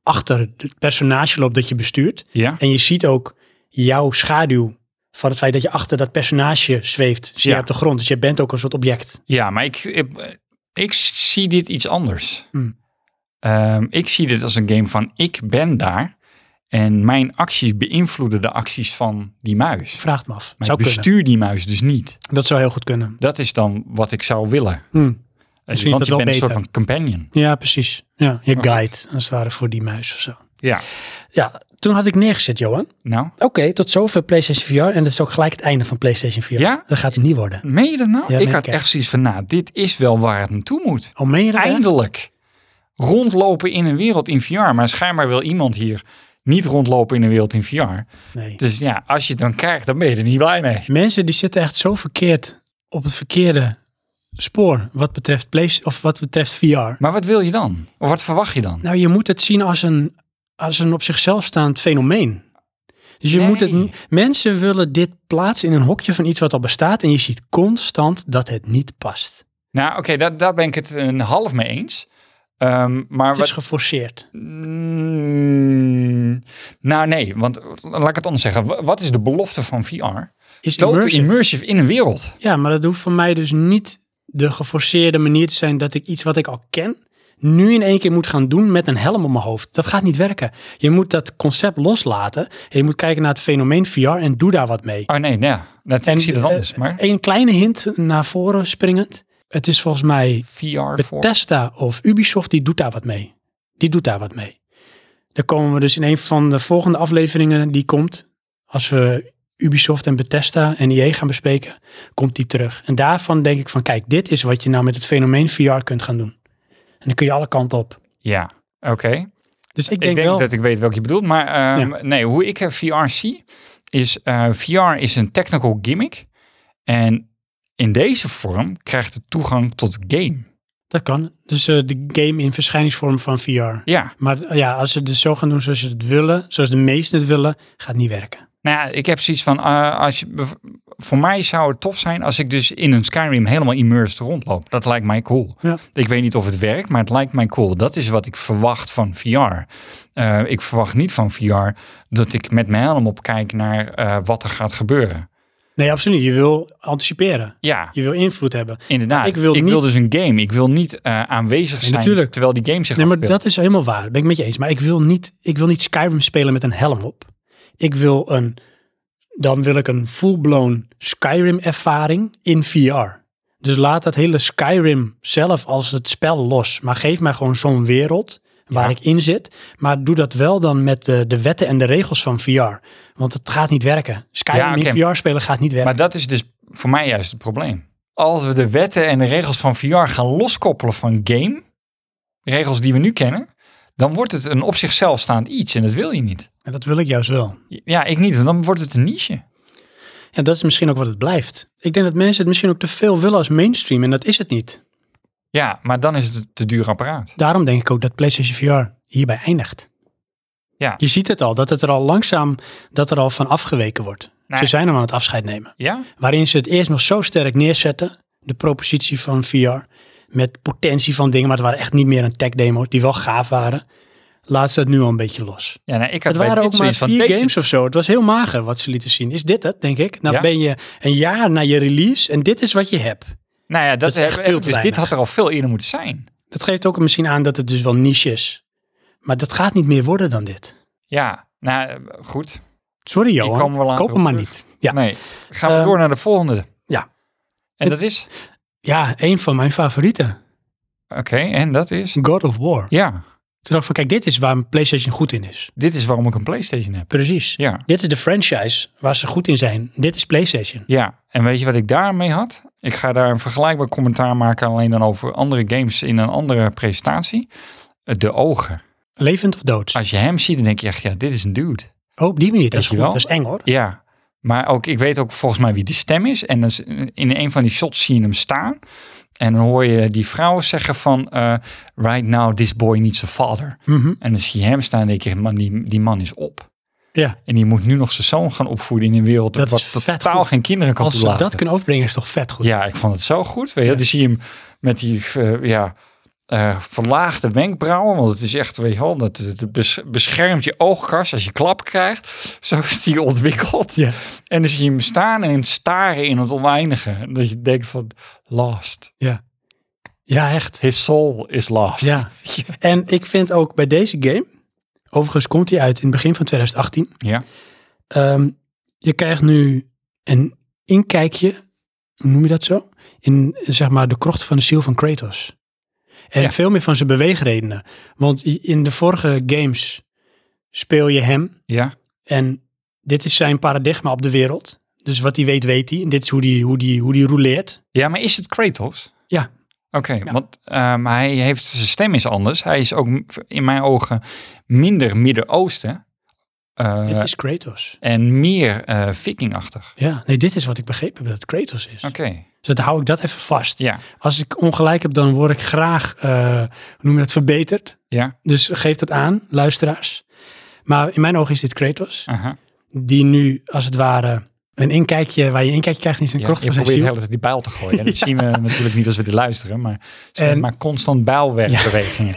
A: achter het personage loopt dat je bestuurt.
B: zien. Ja,
A: En je ziet ook jouw schaduw van het feit dat je achter dat personage zweeft, zie
B: Ja.
A: je op de grond. Dus je bent ook een soort object.
B: ja maar ik, ik, ik zie dit iets anders.
A: Hm.
B: Ehm, ik zie dit als een game van: ik ben daar en mijn acties beïnvloeden de acties van die muis.
A: Vraag het me af.
B: Maar
A: zou
B: ik
A: kunnen.
B: bestuur die muis dus niet.
A: Dat zou heel goed kunnen.
B: Dat is dan wat ik zou willen.
A: Hm.
B: Want
A: Misschien
B: je
A: is dat
B: bent
A: wel
B: een
A: beter.
B: soort van companion.
A: Ja, precies. Ja, je
B: Maar
A: guide, als het ware, voor die muis of zo.
B: Ja.
A: Ja, toen had ik neergezet, Johan.
B: Nou,
A: Oké, tot zover PlayStation VR. En dat is ook gelijk het einde van PlayStation VR.
B: Ja?
A: Dat gaat het niet worden.
B: meen je dat nou?
A: Ja,
B: ik
A: meen
B: had
A: ik echt.
B: echt zoiets van, nou, dit is wel waar het naartoe moet.
A: Al meen je dat echt?
B: Eindelijk. Rondlopen in een wereld in VR. Maar schijnbaar wil iemand hier niet rondlopen in een wereld in VR.
A: Nee.
B: Dus ja, als je het dan krijgt, dan ben je er niet blij mee.
A: Mensen die zitten echt zo verkeerd op het verkeerde spoor wat betreft, play, of wat betreft VR.
B: Maar wat wil je dan? Of wat verwacht je dan?
A: Nou, je moet het zien als een, als een op zichzelf staand fenomeen. Dus je
B: Nee.
A: moet het, niet- mensen willen dit plaatsen in een hokje van iets wat al bestaat. En je ziet constant dat het niet past.
B: Nou, oké, daar, daar ben ik het een half mee eens. Ehm, maar
A: Het
B: wat,
A: is geforceerd.
B: Mm, nou nee, want eh, laat ik het anders zeggen. Wa- Wat is de belofte van VR?
A: Is
B: Total
A: immersive.
B: immersive, in een wereld.
A: Ja, maar dat hoeft voor mij dus niet de geforceerde manier te zijn dat ik iets wat ik al ken, nu in één keer moet gaan doen met een helm op mijn hoofd. Dat gaat niet werken. Je moet dat concept loslaten en je moet kijken naar het fenomeen VR en doe daar wat mee.
B: Oh nee, nee dat,
A: En, eh,
B: ik zie dat anders. maar
A: Eén kleine hint naar voren springend. Het is volgens mij
B: VR voor...
A: Bethesda of Ubisoft, die doet daar wat mee. Die doet daar wat mee. Daar komen we dus in een van de volgende afleveringen die komt. Als we Ubisoft en Bethesda en EA gaan bespreken, komt die terug. En daarvan denk ik van, kijk, dit is wat je nou met het fenomeen VR kunt gaan doen. En dan kun je alle kanten op.
B: Ja, oké.
A: Dus ik
B: Ik
A: denk,
B: denk
A: wel,
B: dat ik weet welke je bedoelt. Maar ehm, nee, hoe ik eh, VR zie, is eh, VR is een technical gimmick. En in deze vorm krijgt het toegang tot game.
A: dat kan. Dus eh, de game in verschijningsvorm van VR.
B: Ja,
A: Maar eh, ja, als ze het dus zo gaan doen zoals ze het willen, zoals de meesten het willen, gaat het niet werken.
B: Nou ja, ik heb zoiets van, eh, als je, bev- voor mij zou het tof zijn als ik dus in een Skyrim helemaal immersed rondloop. Dat lijkt mij cool.
A: Ja.
B: Ik weet niet of het werkt, maar het lijkt mij cool. Dat is wat ik verwacht van VR. Eh, ik verwacht niet van VR dat ik met mijn helm op kijk naar eh, wat er gaat gebeuren.
A: Nee, absoluut niet. Je wil anticiperen.
B: Ja,
A: Je wil invloed hebben.
B: inderdaad.
A: ik wil niet-
B: dus een game. Ik wil niet eh, aanwezig zijn
A: natuurlijk.
B: terwijl die game zich
A: Nee, maar
B: afspeelt.
A: dat is helemaal waar. Dat ben ik met je eens. Maar ik wil niet, ik wil niet Skyrim spelen met een helm op. Ik wil een, dan wil ik een full-blown Skyrim-ervaring in VR. Dus laat dat hele Skyrim zelf als het spel los. Maar geef mij gewoon zo'n wereld waar
B: Ja.
A: ik in zit. Maar doe dat wel dan met de, de wetten en de regels van VR. Want het gaat niet werken. Skyrim
B: Ja, oké.
A: in VR spelen gaat niet werken.
B: Maar dat is dus voor mij juist het probleem. Als we de wetten en de regels van VR gaan loskoppelen van game, regels die we nu kennen, dan wordt het een op zichzelf staand iets en dat wil je niet.
A: En dat wil ik juist wel.
B: Ja, ik niet, want dan wordt het een niche.
A: En dat is misschien ook wat het blijft. Ik denk dat mensen het misschien ook te veel willen als mainstream. En dat is het niet.
B: Ja, maar dan is het een te duur apparaat.
A: Daarom denk ik ook dat PlayStation VR hierbij eindigt.
B: Ja.
A: Je ziet het al, dat het er al langzaam, dat er al van afgeweken wordt.
B: Nee.
A: Ze zijn hem aan het afscheid nemen.
B: Ja?
A: Waarin ze het eerst nog zo sterk neerzetten, de propositie van VR, met potentie van dingen, maar het waren echt niet meer een tech demo, die wel gaaf waren. Laat ze het nu al een beetje los.
B: Ja, nou, ik had
A: Het
B: bij
A: waren
B: dit
A: ook maar
B: zoiets van,
A: vier
B: deze-
A: games of zo. Het was heel mager wat ze lieten zien. Is dit het, denk ik? Nou
B: Ja.
A: ben je een jaar na je release en dit is wat je hebt.
B: Nou ja, dat,
A: is echt
B: hebben-
A: veel te
B: dus dit
A: weinig.
B: had er al veel eerder moeten zijn.
A: Dat geeft ook misschien aan dat het dus wel niche is. Maar dat gaat niet meer worden dan dit.
B: Ja, nou eh, goed.
A: Sorry
B: Ik kwam er wel
A: Johan,
B: later
A: koop
B: op
A: hem maar
B: terug.
A: niet. Ja.
B: Nee. Gaan we
A: Eh,
B: door naar de volgende.
A: ja.
B: En dat is?
A: ja, een van mijn favorieten.
B: Oké, en dat is?
A: God of War.
B: Ja,
A: Toen dacht ik van, kijk, dit is waar een PlayStation goed in is.
B: dit is waarom ik een Playstation heb.
A: Precies.
B: Ja.
A: Dit is de franchise waar ze goed in zijn. Dit is PlayStation.
B: Ja, en weet je wat ik daarmee had? Ik ga daar een vergelijkbaar commentaar maken, alleen dan over andere games in een andere presentatie. Eh, De ogen.
A: Levend of dood.
B: Als je hem ziet, dan denk je echt, ja, dit is een dude.
A: Oh, op die manier. Dat is
B: Weet je
A: goed.
B: wel?
A: Dat is eng hoor.
B: Ja, maar ook, ik weet ook volgens mij wie de stem is. En dan is- in een van die shots zie je hem staan. En dan hoor je die vrouw zeggen van, eh, right now this boy needs a father.
A: Mhm.
B: En dan zie je hem staan en denk je, man, die, die man is op.
A: Ja.
B: En die moet nu nog zijn zoon gaan opvoeden in een wereld
A: Dat
B: dat
A: is
B: wat
A: vet
B: totaal
A: goed.
B: geen kinderen kan
A: Als ze
B: toelaten.
A: dat kunnen overbrengen is het toch vet goed.
B: Ja, ik vond het zo goed. Weet je,
A: Ja.
B: Dan zie je hem met die eh, ja, eh, verlaagde wenkbrauwen. Want het is echt, weet je wel, dat, het bes- beschermt je oogkast als je klap krijgt. Zo is die ontwikkeld.
A: Ja.
B: En dan zie je hem staan en staren in het oneindige. En Dat je denkt van, lost.
A: Ja, echt.
B: His soul is lost.
A: Ja. [LAUGHS] En ik vind ook bij deze game, overigens komt die uit in het begin van 2018.
B: Ja.
A: Ehm, je krijgt nu een inkijkje, hoe noem je dat zo? In zeg maar de krocht van de ziel van Kratos. En
B: Ja.
A: veel meer van zijn beweegredenen. Want i- in de vorige games speel je hem
B: ja.
A: en dit is zijn paradigma op de wereld. Dus wat hij weet, weet hij. En dit is hoe hij hoe die, hoe die roleert.
B: Ja, maar is het Kratos?
A: Ja.
B: Oké, want ehm, hij heeft zijn stem is anders. Hij is ook m- in mijn ogen minder Midden-Oosten eh,
A: dit is Kratos.
B: en meer eh, vikingachtig.
A: Ja, nee, dit is wat ik begrepen heb dat het Kratos is.
B: Oké,
A: Dus dan hou ik dat even vast.
B: ja,
A: Als ik ongelijk heb, dan word ik graag, eh, hoe noem je dat, verbeterd.
B: ja,
A: Dus geef dat aan, luisteraars. Maar in mijn ogen is dit Kratos,
B: aha.
A: die nu als het ware een inkijkje, waar je een inkijkje krijgt in zijn
B: Ja,
A: krocht
B: je
A: van zijn
B: probeert de
A: ziel.
B: hele tijd die bijl te
A: [LAUGHS]
B: gooien. En dat zien we natuurlijk niet als we dit luisteren, maar ze
A: En-
B: maar constant bijlwegbewegingen.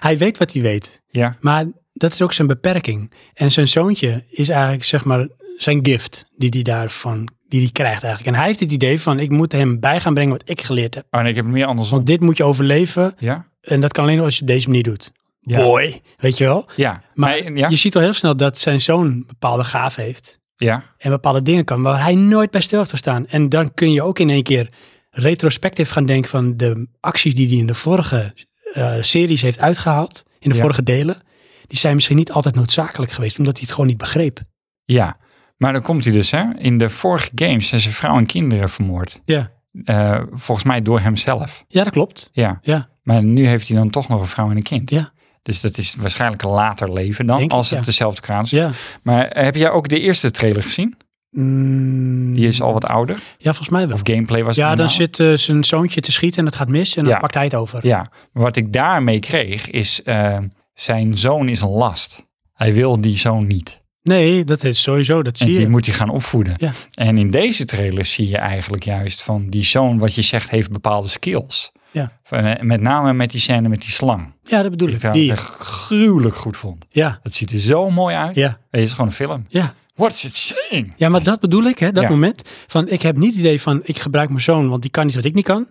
A: Hij weet wat hij weet,
B: Ja.
A: maar dat is ook zijn beperking. En zijn zoontje is eigenlijk, zeg maar, zijn gift die hij daarvan, die hij krijgt eigenlijk. En hij heeft het idee van, ik moet hem bij gaan brengen wat ik geleerd heb.
B: Oh nee, ik heb het meer andersom.
A: Want dit moet je overleven
B: Ja,
A: en dat kan alleen als je het op deze manier doet.
B: Ja.
A: Boy, weet je wel?
B: ja,
A: Maar
B: Nee, ja,
A: je ziet al heel snel dat zijn zoon bepaalde gaaf heeft.
B: ja,
A: En bepaalde dingen kan waar hij nooit bij stil heeft gestaan. En dan kun je ook in één keer retrospectief gaan denken van de acties die hij in de vorige eh, series heeft uitgehaald. In de
B: Ja.
A: vorige delen. Die zijn misschien niet altijd noodzakelijk geweest, omdat hij het gewoon niet begreep.
B: ja. Maar dan komt hij dus, hè. In de vorige games zijn zijn vrouw en kinderen vermoord.
A: Ja,
B: Eh, volgens mij door hemzelf.
A: ja dat klopt.
B: Ja.
A: Ja.
B: Maar nu heeft hij dan toch nog een vrouw en een kind.
A: Ja.
B: Dus dat is waarschijnlijk een later leven dan,
A: Denk ik,
B: als het
A: ja.
B: dezelfde kraan is.
A: Ja.
B: Maar eh, heb jij ook de eerste trailer gezien?
A: Mm,
B: Die is al wat ouder.
A: ja, volgens mij wel.
B: Of gameplay was het
A: Ja, dan
B: normaal.
A: zit eh, zijn zoontje te schieten en het gaat mis en dan
B: Ja.
A: pakt hij het over.
B: Ja, maar wat ik daarmee kreeg is, eh, zijn zoon is een last. Hij wil die zoon niet.
A: Nee, dat is sowieso, dat
B: En
A: zie
B: die
A: je.
B: moet hij gaan opvoeden.
A: Ja.
B: En in deze trailer zie je eigenlijk juist van die zoon, wat je zegt, heeft bepaalde skills.
A: Ja.
B: Van, eh, Met name met die scène met die slang.
A: Ja, dat bedoel
B: Die ik
A: ik.
B: trouwens
A: Die,
B: echt gruwelijk goed vond.
A: ja,
B: Het ziet er zo mooi uit.
A: ja,
B: Het is gewoon een film.
A: ja.
B: What's it saying?
A: Ja, maar dat bedoel ik, hè, dat
B: Ja.
A: moment. Van, ik heb niet het idee van, ik gebruik mijn zoon, want die kan iets wat ik niet kan.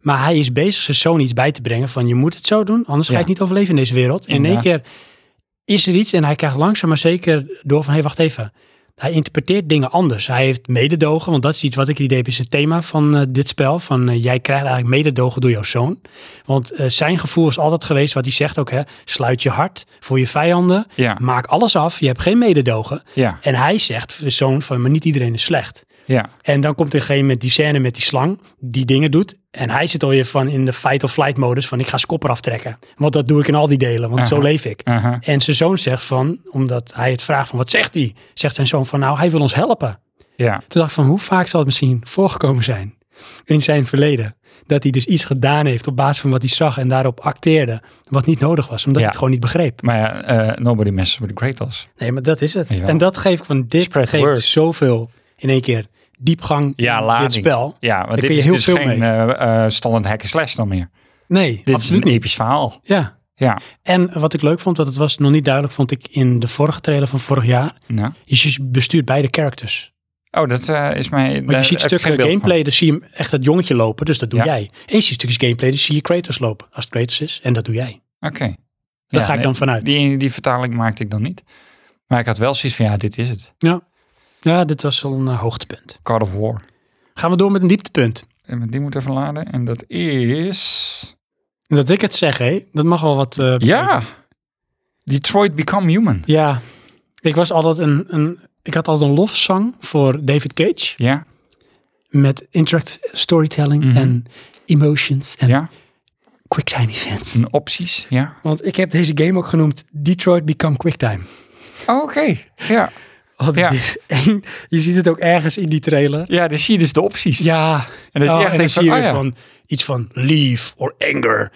A: Maar hij is bezig zijn zoon iets bij te brengen van, je moet het zo doen, anders ga
B: Ja.
A: je het niet overleven in deze wereld. En in één keer is er iets en hij krijgt langzaam maar zeker door van, hé, wacht even. Hij interpreteert dingen anders. Hij heeft mededogen, want dat is iets wat ik het idee heb, is het thema van eh, dit spel. Van, eh, jij krijgt eigenlijk mededogen door jouw zoon. Want eh, zijn gevoel is altijd geweest, wat hij zegt ook, hè, sluit je hart voor je vijanden.
B: Ja,
A: Maak alles af, je hebt geen mededogen.
B: ja,
A: En hij zegt, de zoon van, maar niet iedereen is slecht.
B: ja,
A: En dan komt er een gegeven moment die scène met die slang, die dingen doet. En hij zit alweer van in de fight of flight modus van, ik ga zijn kop eraf trekken. Want dat doe ik in al die delen, want zo
B: Aha.
A: leef ik.
B: aha,
A: En zijn zoon zegt van, omdat hij het vraagt van, wat zegt hij? Zegt zijn zoon van, nou, hij wil ons helpen.
B: ja.
A: Toen dacht ik van, hoe vaak zal het misschien voorgekomen zijn? in zijn verleden. Dat hij dus iets gedaan heeft op basis van wat hij zag en daarop acteerde. Wat niet nodig was, omdat
B: Ja.
A: hij het gewoon niet begreep.
B: Maar ja, eh, nobody messes with the Kratos.
A: Nee, maar dat is het.
B: Ja.
A: En dat geef ik van dit
B: Spread
A: geeft
B: word.
A: zoveel in één keer diepgang
B: Ja,
A: in dit
B: lading.
A: spel.
B: Ja, want dit
A: kun je
B: is
A: heel
B: dus
A: veel
B: geen
A: mee.
B: eh, eh, standaard hack en slash dan meer.
A: Nee,
B: Dit
A: absoluut
B: is een
A: niet.
B: episch verhaal.
A: Ja.
B: Ja,
A: En wat ik leuk vond, want het was nog niet duidelijk, vond ik in de vorige trailer van vorig jaar,
B: nou.
A: is je bestuurt beide characters.
B: Oh, dat eh, is mij...
A: Want
B: daar
A: je ziet
B: heb ik
A: stukken
B: geen beeld
A: gameplay, dan zie je hem echt dat jongetje lopen, dus dat doe
B: Ja.
A: jij. En je ziet stukjes gameplay, dan zie je Kratos lopen, als het Kratos is, en dat doe jij.
B: van. Oké.
A: Daar
B: Ja,
A: ga ik
B: nee,
A: dan vanuit.
B: Die, die vertaling maakte ik dan niet. Maar ik had wel zoiets van, ja, dit is het.
A: Ja, dit was al een eh, hoogtepunt.
B: God of War.
A: Gaan we door met een dieptepunt.
B: En die moet even laden. En dat is...
A: Dat ik het zeg, hé, dat mag wel wat... eh,
B: Ja! Detroit Become Human.
A: Ja, ik was altijd een, een ik had altijd een lofzang voor David Cage
B: Ja,
A: met interactive storytelling
B: Mhm.
A: en emotions en
B: ja.
A: quicktime events.
B: En opties, ja.
A: Want ik heb deze game ook genoemd Detroit Become Quicktime.
B: Oh, Oké, ja.
A: Want
B: Ja.
A: het is één- je ziet het ook ergens in die trailer.
B: Ja, dan zie je dus de opties.
A: Ja,
B: En dat
A: oh, en
B: je echt
A: dan
B: denkt
A: zie
B: van,
A: je
B: oh
A: weer
B: ja.
A: van iets van leave or anger.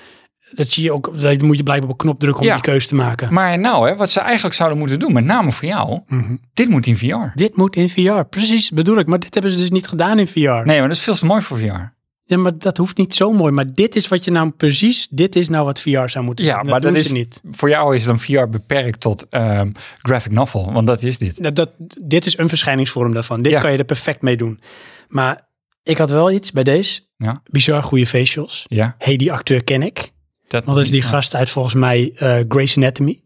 A: Dat zie je ook, daar moet je blijkbaar op een knop drukken om
B: Ja.
A: die keuze te maken.
B: Maar nou, hè, wat ze eigenlijk zouden moeten doen, met name voor jou,
A: Mhm.
B: dit moet in VR.
A: Dit moet in VR, precies bedoel ik. Maar dit hebben ze dus niet gedaan in VR.
B: Nee, maar dat is veel te mooi voor VR.
A: Ja, maar dat hoeft niet zo mooi. Maar dit is wat je nou precies, dit is nou wat VR zou moeten
B: Ja,
A: doen.
B: maar
A: dat
B: dat
A: doen
B: is
A: ze niet.
B: Voor jou is dan VR beperkt tot ehm, graphic novel, want dat is dit.
A: Dat, dat, dit is een verschijningsvorm daarvan. Dit
B: Ja.
A: kan je er perfect mee doen. Maar ik had wel iets bij deze.
B: Ja.
A: Bizar goede facials.
B: Ja,
A: hey, die acteur ken ik.
B: dat,
A: Want dat is die
B: ja.
A: gast uit volgens mij eh Grey's Anatomy.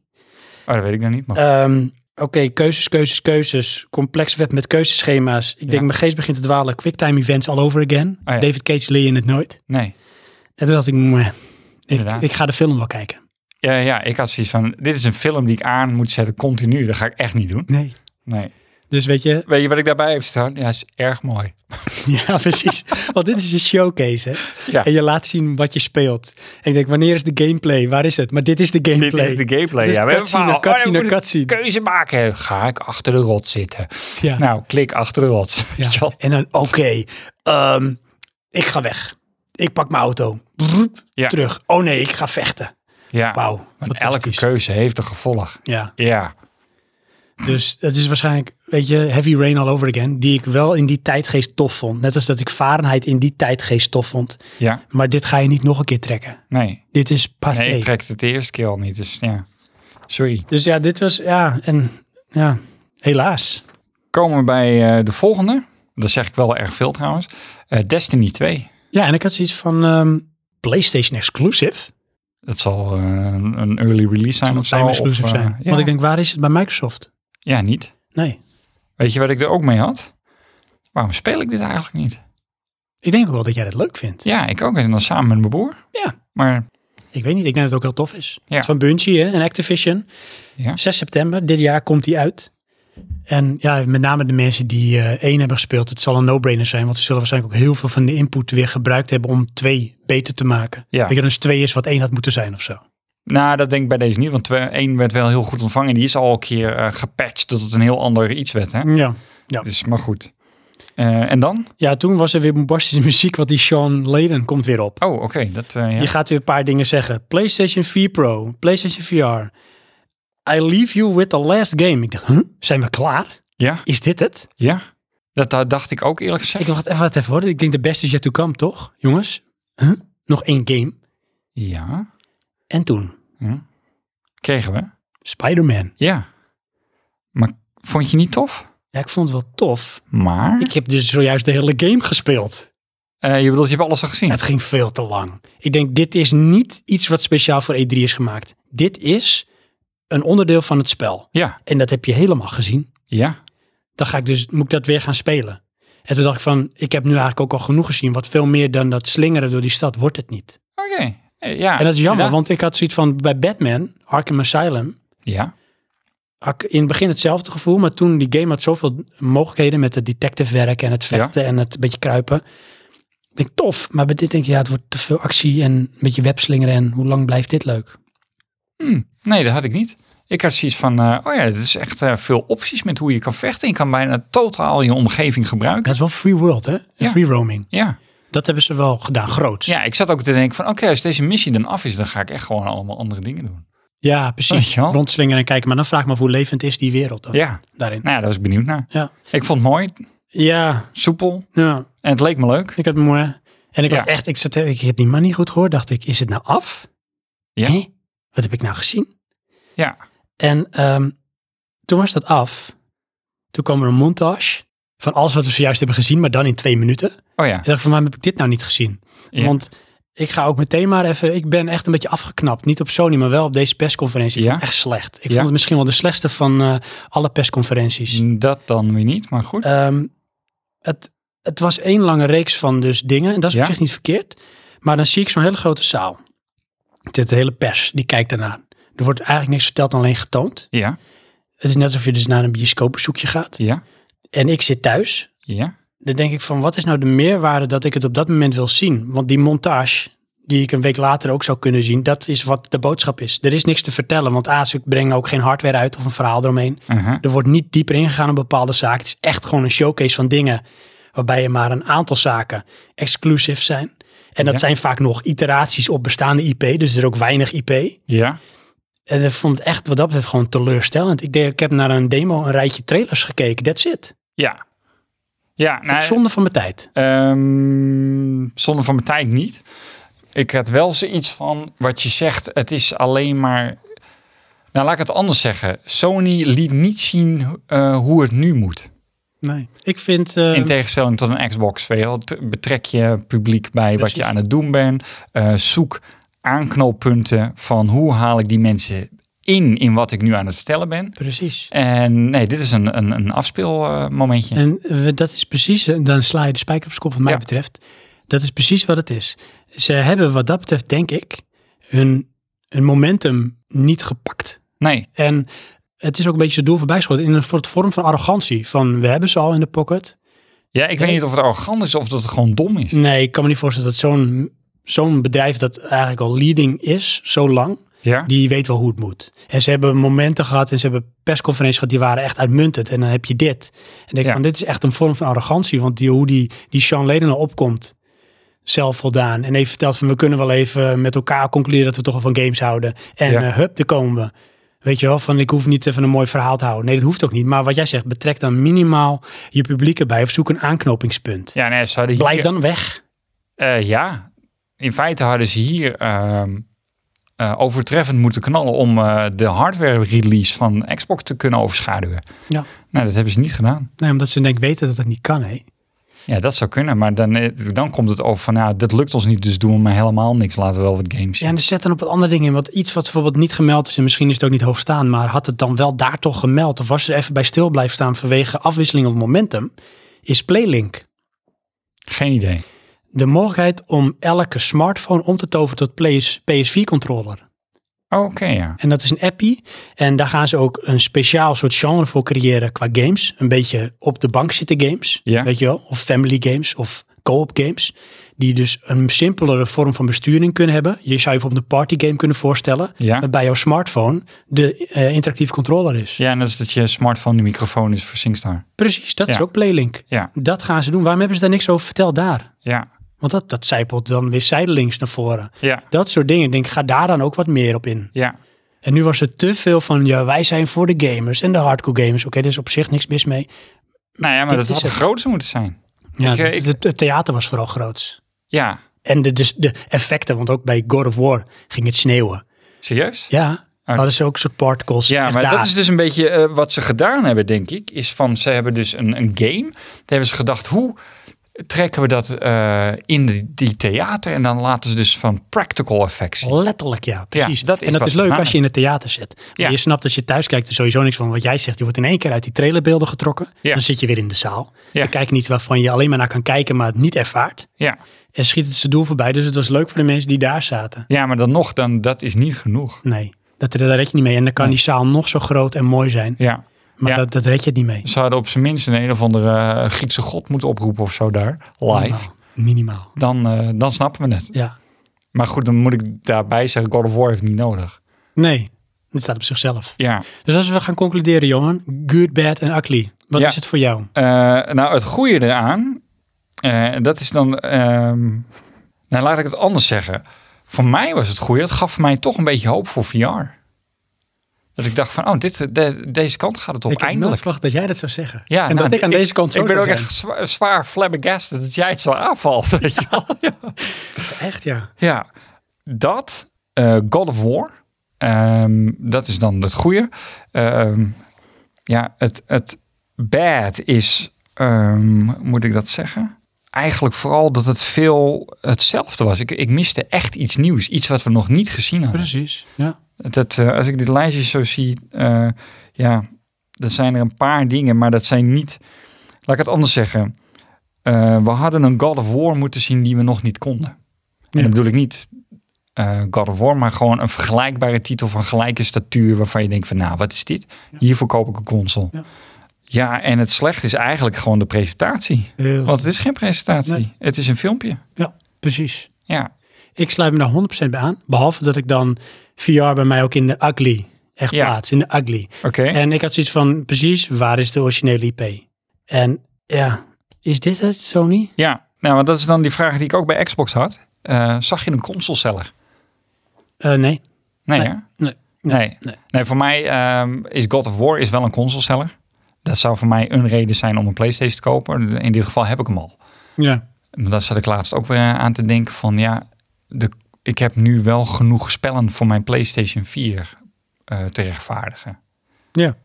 B: Oh, dat weet ik dan niet, maar
A: Ehm, Oké, keuzes, keuzes, keuzes. Complex web met keuzeschema's. Ik denk, mijn geest begint te dwalen. Quicktime events all over again.
B: Oh ja.
A: David Cage leer je het nooit.
B: nee.
A: En toen dacht ik, meh, ik,
B: Inderdaad.
A: ik ga de film wel kijken.
B: Ja, ja, ik had zoiets van, dit is een film die ik aan moet zetten continu. Dat ga ik echt niet doen.
A: Nee.
B: Nee.
A: Dus weet je,
B: Weet je wat ik daarbij heb staan? Ja, is erg mooi.
A: [LAUGHS] Ja, precies. Want dit is een showcase, hè?
B: Ja,
A: En je laat zien wat je speelt. En ik denk, wanneer is de gameplay? Waar is het? Maar dit is de
B: dit
A: gameplay.
B: is de gameplay.
A: Dit is
B: ja, we hebben
A: cutscene
B: een
A: na
B: verhaal.
A: cutscene
B: Oh,
A: na
B: dan moet ik
A: cutscene.
B: keuze maken. Ga ik achter de rot zitten?
A: Ja.
B: Nou, klik achter de rot.
A: ja.
B: Weet je wel?
A: En dan, oké, ehm, ik ga weg. Ik pak mijn auto. Broep,
B: Ja.
A: Terug. Oh nee, ik ga vechten.
B: Ja,
A: Wauw,
B: want elke
A: fantastisch.
B: keuze heeft een gevolg.
A: Ja,
B: Ja,
A: dus het is waarschijnlijk, weet je, Heavy Rain All Over Again, die ik wel in die tijdgeest tof vond. Net als dat ik Fahrenheit in die tijdgeest tof vond.
B: ja,
A: Maar dit ga je niet nog een keer trekken.
B: nee.
A: Dit is passé.
B: Nee, ik trek het de eerste keer al niet, dus ja. Sorry.
A: Dus ja, dit was, ja, en ja, helaas.
B: Komen we bij eh, de volgende. Dat zeg ik wel erg veel trouwens. Eh, Destiny 2.
A: Ja, en ik had zoiets van ehm, PlayStation exclusive.
B: Dat zal eh, een een early release zijn
A: Zal
B: of
A: het
B: zo.
A: time
B: of,
A: exclusive
B: eh,
A: zijn.
B: ja.
A: Want ik denk, waar is het bij Microsoft?
B: ja, niet.
A: Nee.
B: Weet je wat ik er ook mee had? Waarom speel ik dit eigenlijk niet?
A: Ik denk ook wel dat jij dat leuk vindt.
B: Ja, ik ook. En dan samen met mijn broer.
A: Ja.
B: Maar
A: Ik weet niet, ik denk dat het ook heel tof is.
B: Ja.
A: Het is van Bungie hè, en Activision.
B: Ja.
A: 6 september, dit jaar komt die uit. En ja, met name de mensen die eh één hebben gespeeld, het zal een no-brainer zijn. Want ze zullen waarschijnlijk ook heel veel van de input weer gebruikt hebben om twee beter te maken.
B: Ja.
A: Weet je, dus twee is wat één had moeten zijn of zo.
B: nou, dat denk ik bij deze niet. Want 1 werd wel heel goed ontvangen. Die is al een keer eh, gepatcht tot het een heel ander iets werd. Hè?
A: Ja.
B: Dus, maar goed. Eh, en dan?
A: Ja, toen was er weer bombastische [LAUGHS] muziek, want die Sean Layden komt weer op.
B: Oh, oké. Dat, eh, ja.
A: Je gaat weer een paar dingen zeggen. PlayStation 4 Pro, PlayStation VR. I leave you with the last game. Ik dacht, huh? zijn we klaar?
B: ja,
A: Is dit het?
B: ja. Dat, dat dacht ik ook eerlijk gezegd.
A: Ik dacht, even wat even hoor. Ik denk de beste is yet to come, toch? Jongens, huh? nog één game.
B: Ja.
A: En toen,
B: Hm. Kregen we.
A: Spider-Man.
B: Ja. Maar vond je niet tof?
A: Ja, ik vond het wel tof.
B: Maar?
A: Ik heb dus zojuist de hele game gespeeld.
B: Eh, je bedoelt, je hebt alles al gezien?
A: Het ging veel te lang. Ik denk, dit is niet iets wat speciaal voor E3 is gemaakt. Dit is een onderdeel van het spel.
B: Ja.
A: En dat heb je helemaal gezien.
B: Ja.
A: dan ga ik dus, moet ik dat weer gaan spelen. En toen dacht ik van, ik heb nu eigenlijk ook al genoeg gezien. Wat veel meer dan dat slingeren door die stad wordt het niet.
B: Oké. Eh, Ja.
A: en dat is jammer,
B: inderdaad.
A: want ik had zoiets van bij Batman, Arkham Asylum,
B: Ja.
A: had ik in het begin hetzelfde gevoel. Maar toen die game had zoveel mogelijkheden met het detectivewerk en het vechten en het beetje kruipen. Ik denk tof, maar bij dit denk ik, ja, het wordt te veel actie en een beetje webslingeren. En hoe lang blijft dit leuk?
B: Hm, Nee, dat had ik niet. Ik had zoiets van, eh, oh ja, het is echt eh, veel opties met hoe je kan vechten. Je kan bijna totaal je omgeving gebruiken.
A: Dat is wel free world, hè?
B: Ja.
A: Free roaming.
B: Ja,
A: Dat hebben ze wel gedaan, groots.
B: Ja, ik zat ook te denken van, oké, als deze missie dan af is, dan ga ik echt gewoon allemaal andere dingen doen.
A: Ja,
B: Weet
A: precies.
B: je wel?
A: Rondslingeren en kijken. Maar dan vraag ik me af hoe levend is die wereld dan,
B: Oh. Ja,
A: daarin.
B: nou ja, daar was ik benieuwd naar.
A: Ja.
B: Ik vond het mooi,
A: Ja,
B: soepel
A: ja,
B: en het leek me leuk.
A: ik had moe. hè. En ik
B: Ja.
A: was echt, ik, zat, ik heb die man niet goed gehoord. Dacht ik, is het nou af?
B: Ja.
A: Hé? Wat heb ik nou gezien?
B: Ja.
A: En ehm, toen was dat af. Toen kwam er een montage van alles wat we zojuist hebben gezien, maar dan in twee minuten.
B: Oh ja,
A: Ik dacht van, waarom heb ik dit nou niet gezien?
B: Ja.
A: Want ik ga ook meteen maar even, ik ben echt een beetje afgeknapt. Niet op Sony, maar wel op deze persconferentie. Ik
B: Ja.
A: vond het echt slecht. Ik
B: Ja.
A: vond het misschien wel de slechtste van eh, alle persconferenties.
B: dat dan weer niet, maar goed.
A: Ehm, het, het was één lange reeks van dus dingen. En dat is op
B: Ja.
A: zich niet verkeerd. Maar dan zie ik zo'n hele grote zaal. Dit hele pers, die kijkt daarna. Er wordt eigenlijk niks verteld, dan alleen getoond.
B: Ja,
A: Het is net alsof je dus naar een bioscoopbezoekje gaat.
B: ja,
A: En ik zit thuis.
B: ja,
A: Dan denk ik van, wat is nou de meerwaarde dat ik het op dat moment wil zien? Want die montage, die ik een week later ook zou kunnen zien, dat is wat de boodschap is. Er is niks te vertellen, want A, ze brengen ook geen hardware uit of een verhaal eromheen.
B: aha,
A: Er wordt niet dieper ingegaan op bepaalde zaken. Het is echt gewoon een showcase van dingen waarbij je maar een aantal zaken exclusief zijn. En dat
B: Ja.
A: zijn vaak nog iteraties op bestaande IP, dus er is ook weinig IP.
B: ja.
A: En ik vond het echt wat dat betreft gewoon teleurstellend. Ik, denk, ik heb naar een demo een rijtje trailers gekeken, that's it.
B: Ja. Ja, nou,
A: Zonde van mijn tijd.
B: ehm, zonde van mijn tijd niet. Ik had wel zoiets van wat je zegt. Het is alleen maar. Nou, laat ik het anders zeggen. Sony liet niet zien eh, hoe het nu moet.
A: Nee. Ik vind... eh,
B: In tegenstelling tot een Xbox. weet je wel. T- Betrek je publiek bij wat
A: Precies.
B: je aan het doen bent. Eh, zoek aanknooppunten van hoe haal ik die mensen in in wat ik nu aan het vertellen ben.
A: Precies.
B: En nee, dit is een, een, een afspeelmomentje.
A: En eh, we- dat is precies, eh, dan sla je de spijker op zijn kop wat mij
B: Ja.
A: betreft. Dat is precies wat het is. Ze hebben wat dat betreft, denk ik, hun, hun momentum niet gepakt.
B: nee,
A: En het is ook een beetje zijn doel voorbij geschoten in een soort vorm van arrogantie. Van, we hebben ze al in de pocket.
B: Ja, ik
A: Nee.
B: weet niet of het arrogant is of dat het gewoon dom is.
A: Nee, ik kan me niet voorstellen dat zo'n zo'n bedrijf dat eigenlijk al leading is, zo lang,
B: Ja,
A: die weet wel hoe het moet. En ze hebben momenten gehad en ze hebben persconferenties gehad die waren echt uitmuntend. En dan heb je dit. En denk ik
B: Ja.
A: van dit is echt een vorm van arrogantie. Want die, hoe die, die Sean Leden al opkomt, zelfvoldaan. En heeft verteld van we kunnen wel even met elkaar concluderen dat we toch wel van games houden. En
B: Ja.
A: eh, hup, daar komen we. Weet je wel, van ik hoef niet even een mooi verhaal te houden. Nee, dat hoeft ook niet. Maar wat jij zegt, betrek dan minimaal je publiek erbij of zoek een aanknopingspunt.
B: ja nee, ze hadden hier...
A: Blijf dan weg.
B: Eh, ja, in feite hadden ze hier ehm, eh, overtreffend moeten knallen om eh, de hardware release van Xbox te kunnen overschaduwen.
A: Ja.
B: Nou, dat hebben ze niet gedaan.
A: Nee, omdat ze denk ik weten dat het niet kan, hè.
B: Ja, dat zou kunnen, maar dan, eh, dan komt het over van, nou, dat lukt ons niet, dus doen we maar helemaal niks. Laten we wel wat games
A: Ja,
B: zien.
A: en er zet dan op wat andere dingen in. Want iets wat bijvoorbeeld niet gemeld is, en misschien is het ook niet hoogstaan, maar had het dan wel daar toch gemeld? Of was er even bij stil blijven staan vanwege afwisseling of momentum? Is Playlink.
B: Geen idee.
A: De mogelijkheid om elke smartphone om te toveren tot PS- PS4-controller.
B: Oké, ja.
A: En dat is een appie. En daar gaan ze ook een speciaal soort genre voor creëren qua games. Een beetje op de bank zitten games,
B: Ja.
A: weet je wel. Of family games of co-op games. Die dus een simpelere vorm van besturing kunnen hebben. Je zou je bijvoorbeeld een party game kunnen voorstellen
B: Ja.
A: bij jouw smartphone de eh, interactieve controller is.
B: Ja, en dat is dat je smartphone de microfoon is voor SingStar.
A: Precies, dat is
B: Ja.
A: ook Playlink.
B: Ja.
A: Dat gaan ze doen. Waarom hebben ze daar niks over verteld daar?
B: Ja,
A: Want dat, dat zijpelt dan weer zijdelings naar voren.
B: ja,
A: Dat soort dingen. Ik denk, ga daar dan ook wat meer op in.
B: ja.
A: En nu was er te veel van, ja, wij zijn voor de gamers en de hardcore gamers. Oké, er is op zich niks mis mee.
B: Nou ja, maar
A: Dit
B: dat
A: is
B: had
A: het.
B: groter moeten zijn.
A: Ja,
B: Ik, eh,
A: het-
B: ik-
A: het, het theater was vooral groots.
B: Ja,
A: En de, dus de effecten, want ook bij God of War ging het sneeuwen.
B: serieus?
A: Ja, hadden ze ook soort particles.
B: Ah. Ja,
A: echt
B: maar
A: daar.
B: dat is dus een beetje eh, wat ze gedaan hebben, denk ik. Is van, ze hebben dus een, een game. Daar hebben ze gedacht, hoe trekken we dat eh, in die, die theater? En dan laten ze dus van practical effects zien.
A: Letterlijk, ja, precies.
B: dat is
A: en dat
B: wat
A: is
B: ze
A: leuk als
B: maken.
A: je in het theater zit. Maar
B: Ja.
A: je snapt als je thuis kijkt er sowieso niks van wat jij zegt. Je wordt in één keer uit die trailerbeelden getrokken.
B: Ja.
A: Dan zit je weer in de zaal.
B: Ja.
A: Dan kijk je niet waarvan je alleen maar naar kan kijken, maar het niet ervaart.
B: Ja.
A: En schiet het zijn doel voorbij. Dus het was leuk voor de mensen die daar zaten.
B: ja, maar dan nog, dan, dat is niet genoeg.
A: Nee, dat, daar red je niet mee. En dan kan
B: Nee.
A: die zaal nog zo groot en mooi zijn.
B: Ja,
A: Maar
B: Ja.
A: dat, dat red je het niet mee.
B: ze hadden op zijn minst een een of andere eh, Griekse god moeten oproepen of zo daar, live.
A: Minimaal. Minimaal.
B: Dan, eh, dan snappen we het.
A: Ja.
B: Maar goed, dan moet ik daarbij zeggen, God of War heeft niet nodig.
A: Nee, het staat op zichzelf.
B: Ja,
A: Dus als we gaan concluderen, Johan. Good, bad en ugly. Wat
B: Ja.
A: is het voor jou?
B: Eh, nou, het goede eraan Eh, dat is dan. ehm, nou, laat ik het anders zeggen. Voor mij was het goede. Het gaf mij toch een beetje hoop voor VR. Dat ik dacht van, oh, dit, de- deze kant gaat het op
A: ik heb nooit
B: eindelijk.
A: verwacht dat jij dat zou zeggen.
B: Ja,
A: en
B: nou,
A: dat ik aan deze kant zo
B: Ik ben ook
A: zou
B: echt zwa- zwaar flabbergasted dat jij het zo aanvalt. [LAUGHS] Weet je wel? Ja.
A: zijn. Echt, ja.
B: Ja, dat, eh, God of War, ehm, dat is dan het goede. Ehm, ja, het, het bad is, ehm, hoe moet ik dat zeggen? Eigenlijk vooral dat het veel hetzelfde was. Ik, ik miste echt iets nieuws, iets wat we nog niet gezien hadden.
A: Precies. Ja.
B: Dat, eh, als ik dit lijstje zo zie, eh, ja, er zijn er een paar dingen, maar dat zijn niet, laat ik het anders zeggen. Eh, we hadden een God of War moeten zien die we nog niet konden. En
A: Ja.
B: dat bedoel ik niet eh, God of War, maar gewoon een vergelijkbare titel van gelijke statuur waarvan je denkt van nou, wat is dit?
A: Ja.
B: Hiervoor koop ik een console.
A: Ja.
B: Ja. en het slecht is eigenlijk gewoon de presentatie.
A: Heel
B: Want het is geen presentatie.
A: Nee.
B: Het is een filmpje.
A: Precies.
B: Ja,
A: Ik sluit me daar 100% bij aan. Behalve dat ik dan VR bij mij ook in de ugly echt
B: Ja.
A: plaats. In de ugly.
B: oké.
A: En ik had zoiets van, precies, waar is de originele IP? En ja, is dit het, Sony?
B: Ja, nou, want dat is dan die vraag die ik ook bij Xbox had. Eh, zag je een consoleseller?
A: Eh, nee.
B: Nee,
A: Nee,
B: hè?
A: nee, nee,
B: Nee. Nee.
A: nee.
B: voor mij ehm, is God of War is wel een consoleseller. Dat zou voor mij een reden zijn om een PlayStation te kopen. In dit geval heb ik hem al.
A: Ja.
B: Maar daar zat ik laatst ook weer aan te denken van ja, de, ik heb nu wel genoeg spellen voor mijn PlayStation 4 eh, te rechtvaardigen.
A: Ja.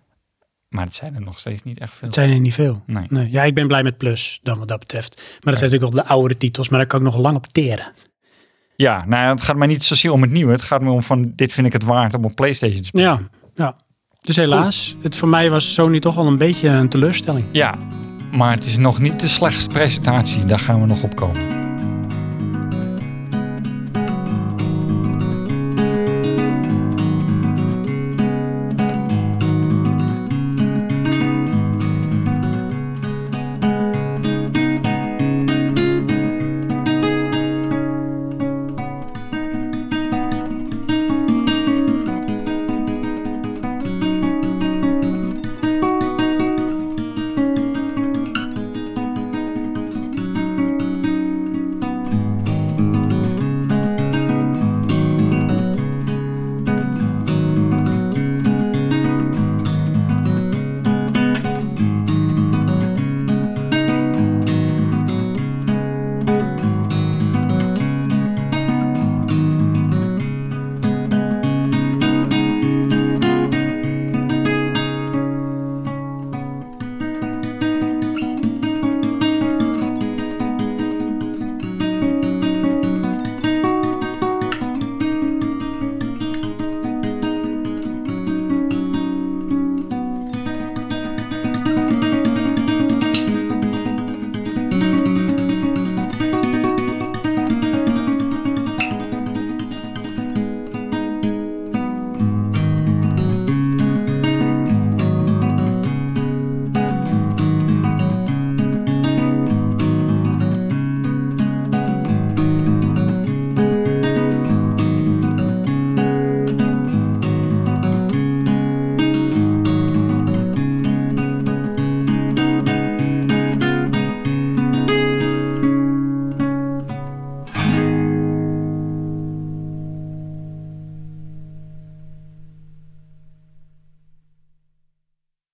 B: Maar het zijn er nog steeds niet echt veel.
A: Het zijn er niet veel.
B: Nee.
A: Nee. Ja, ik ben blij met Plus dan wat dat betreft. Maar dat zijn natuurlijk wel de oude titels, maar daar kan ik nog lang op teren.
B: Ja, nou ja, het gaat mij niet zozeer om het nieuwe. Het gaat me om van dit vind ik het waard om op PlayStation te spelen.
A: Ja, ja. Dus helaas, het voor mij was Sony toch wel een beetje een teleurstelling.
B: Ja, maar het is nog niet de slechtste presentatie. Daar gaan we nog op komen.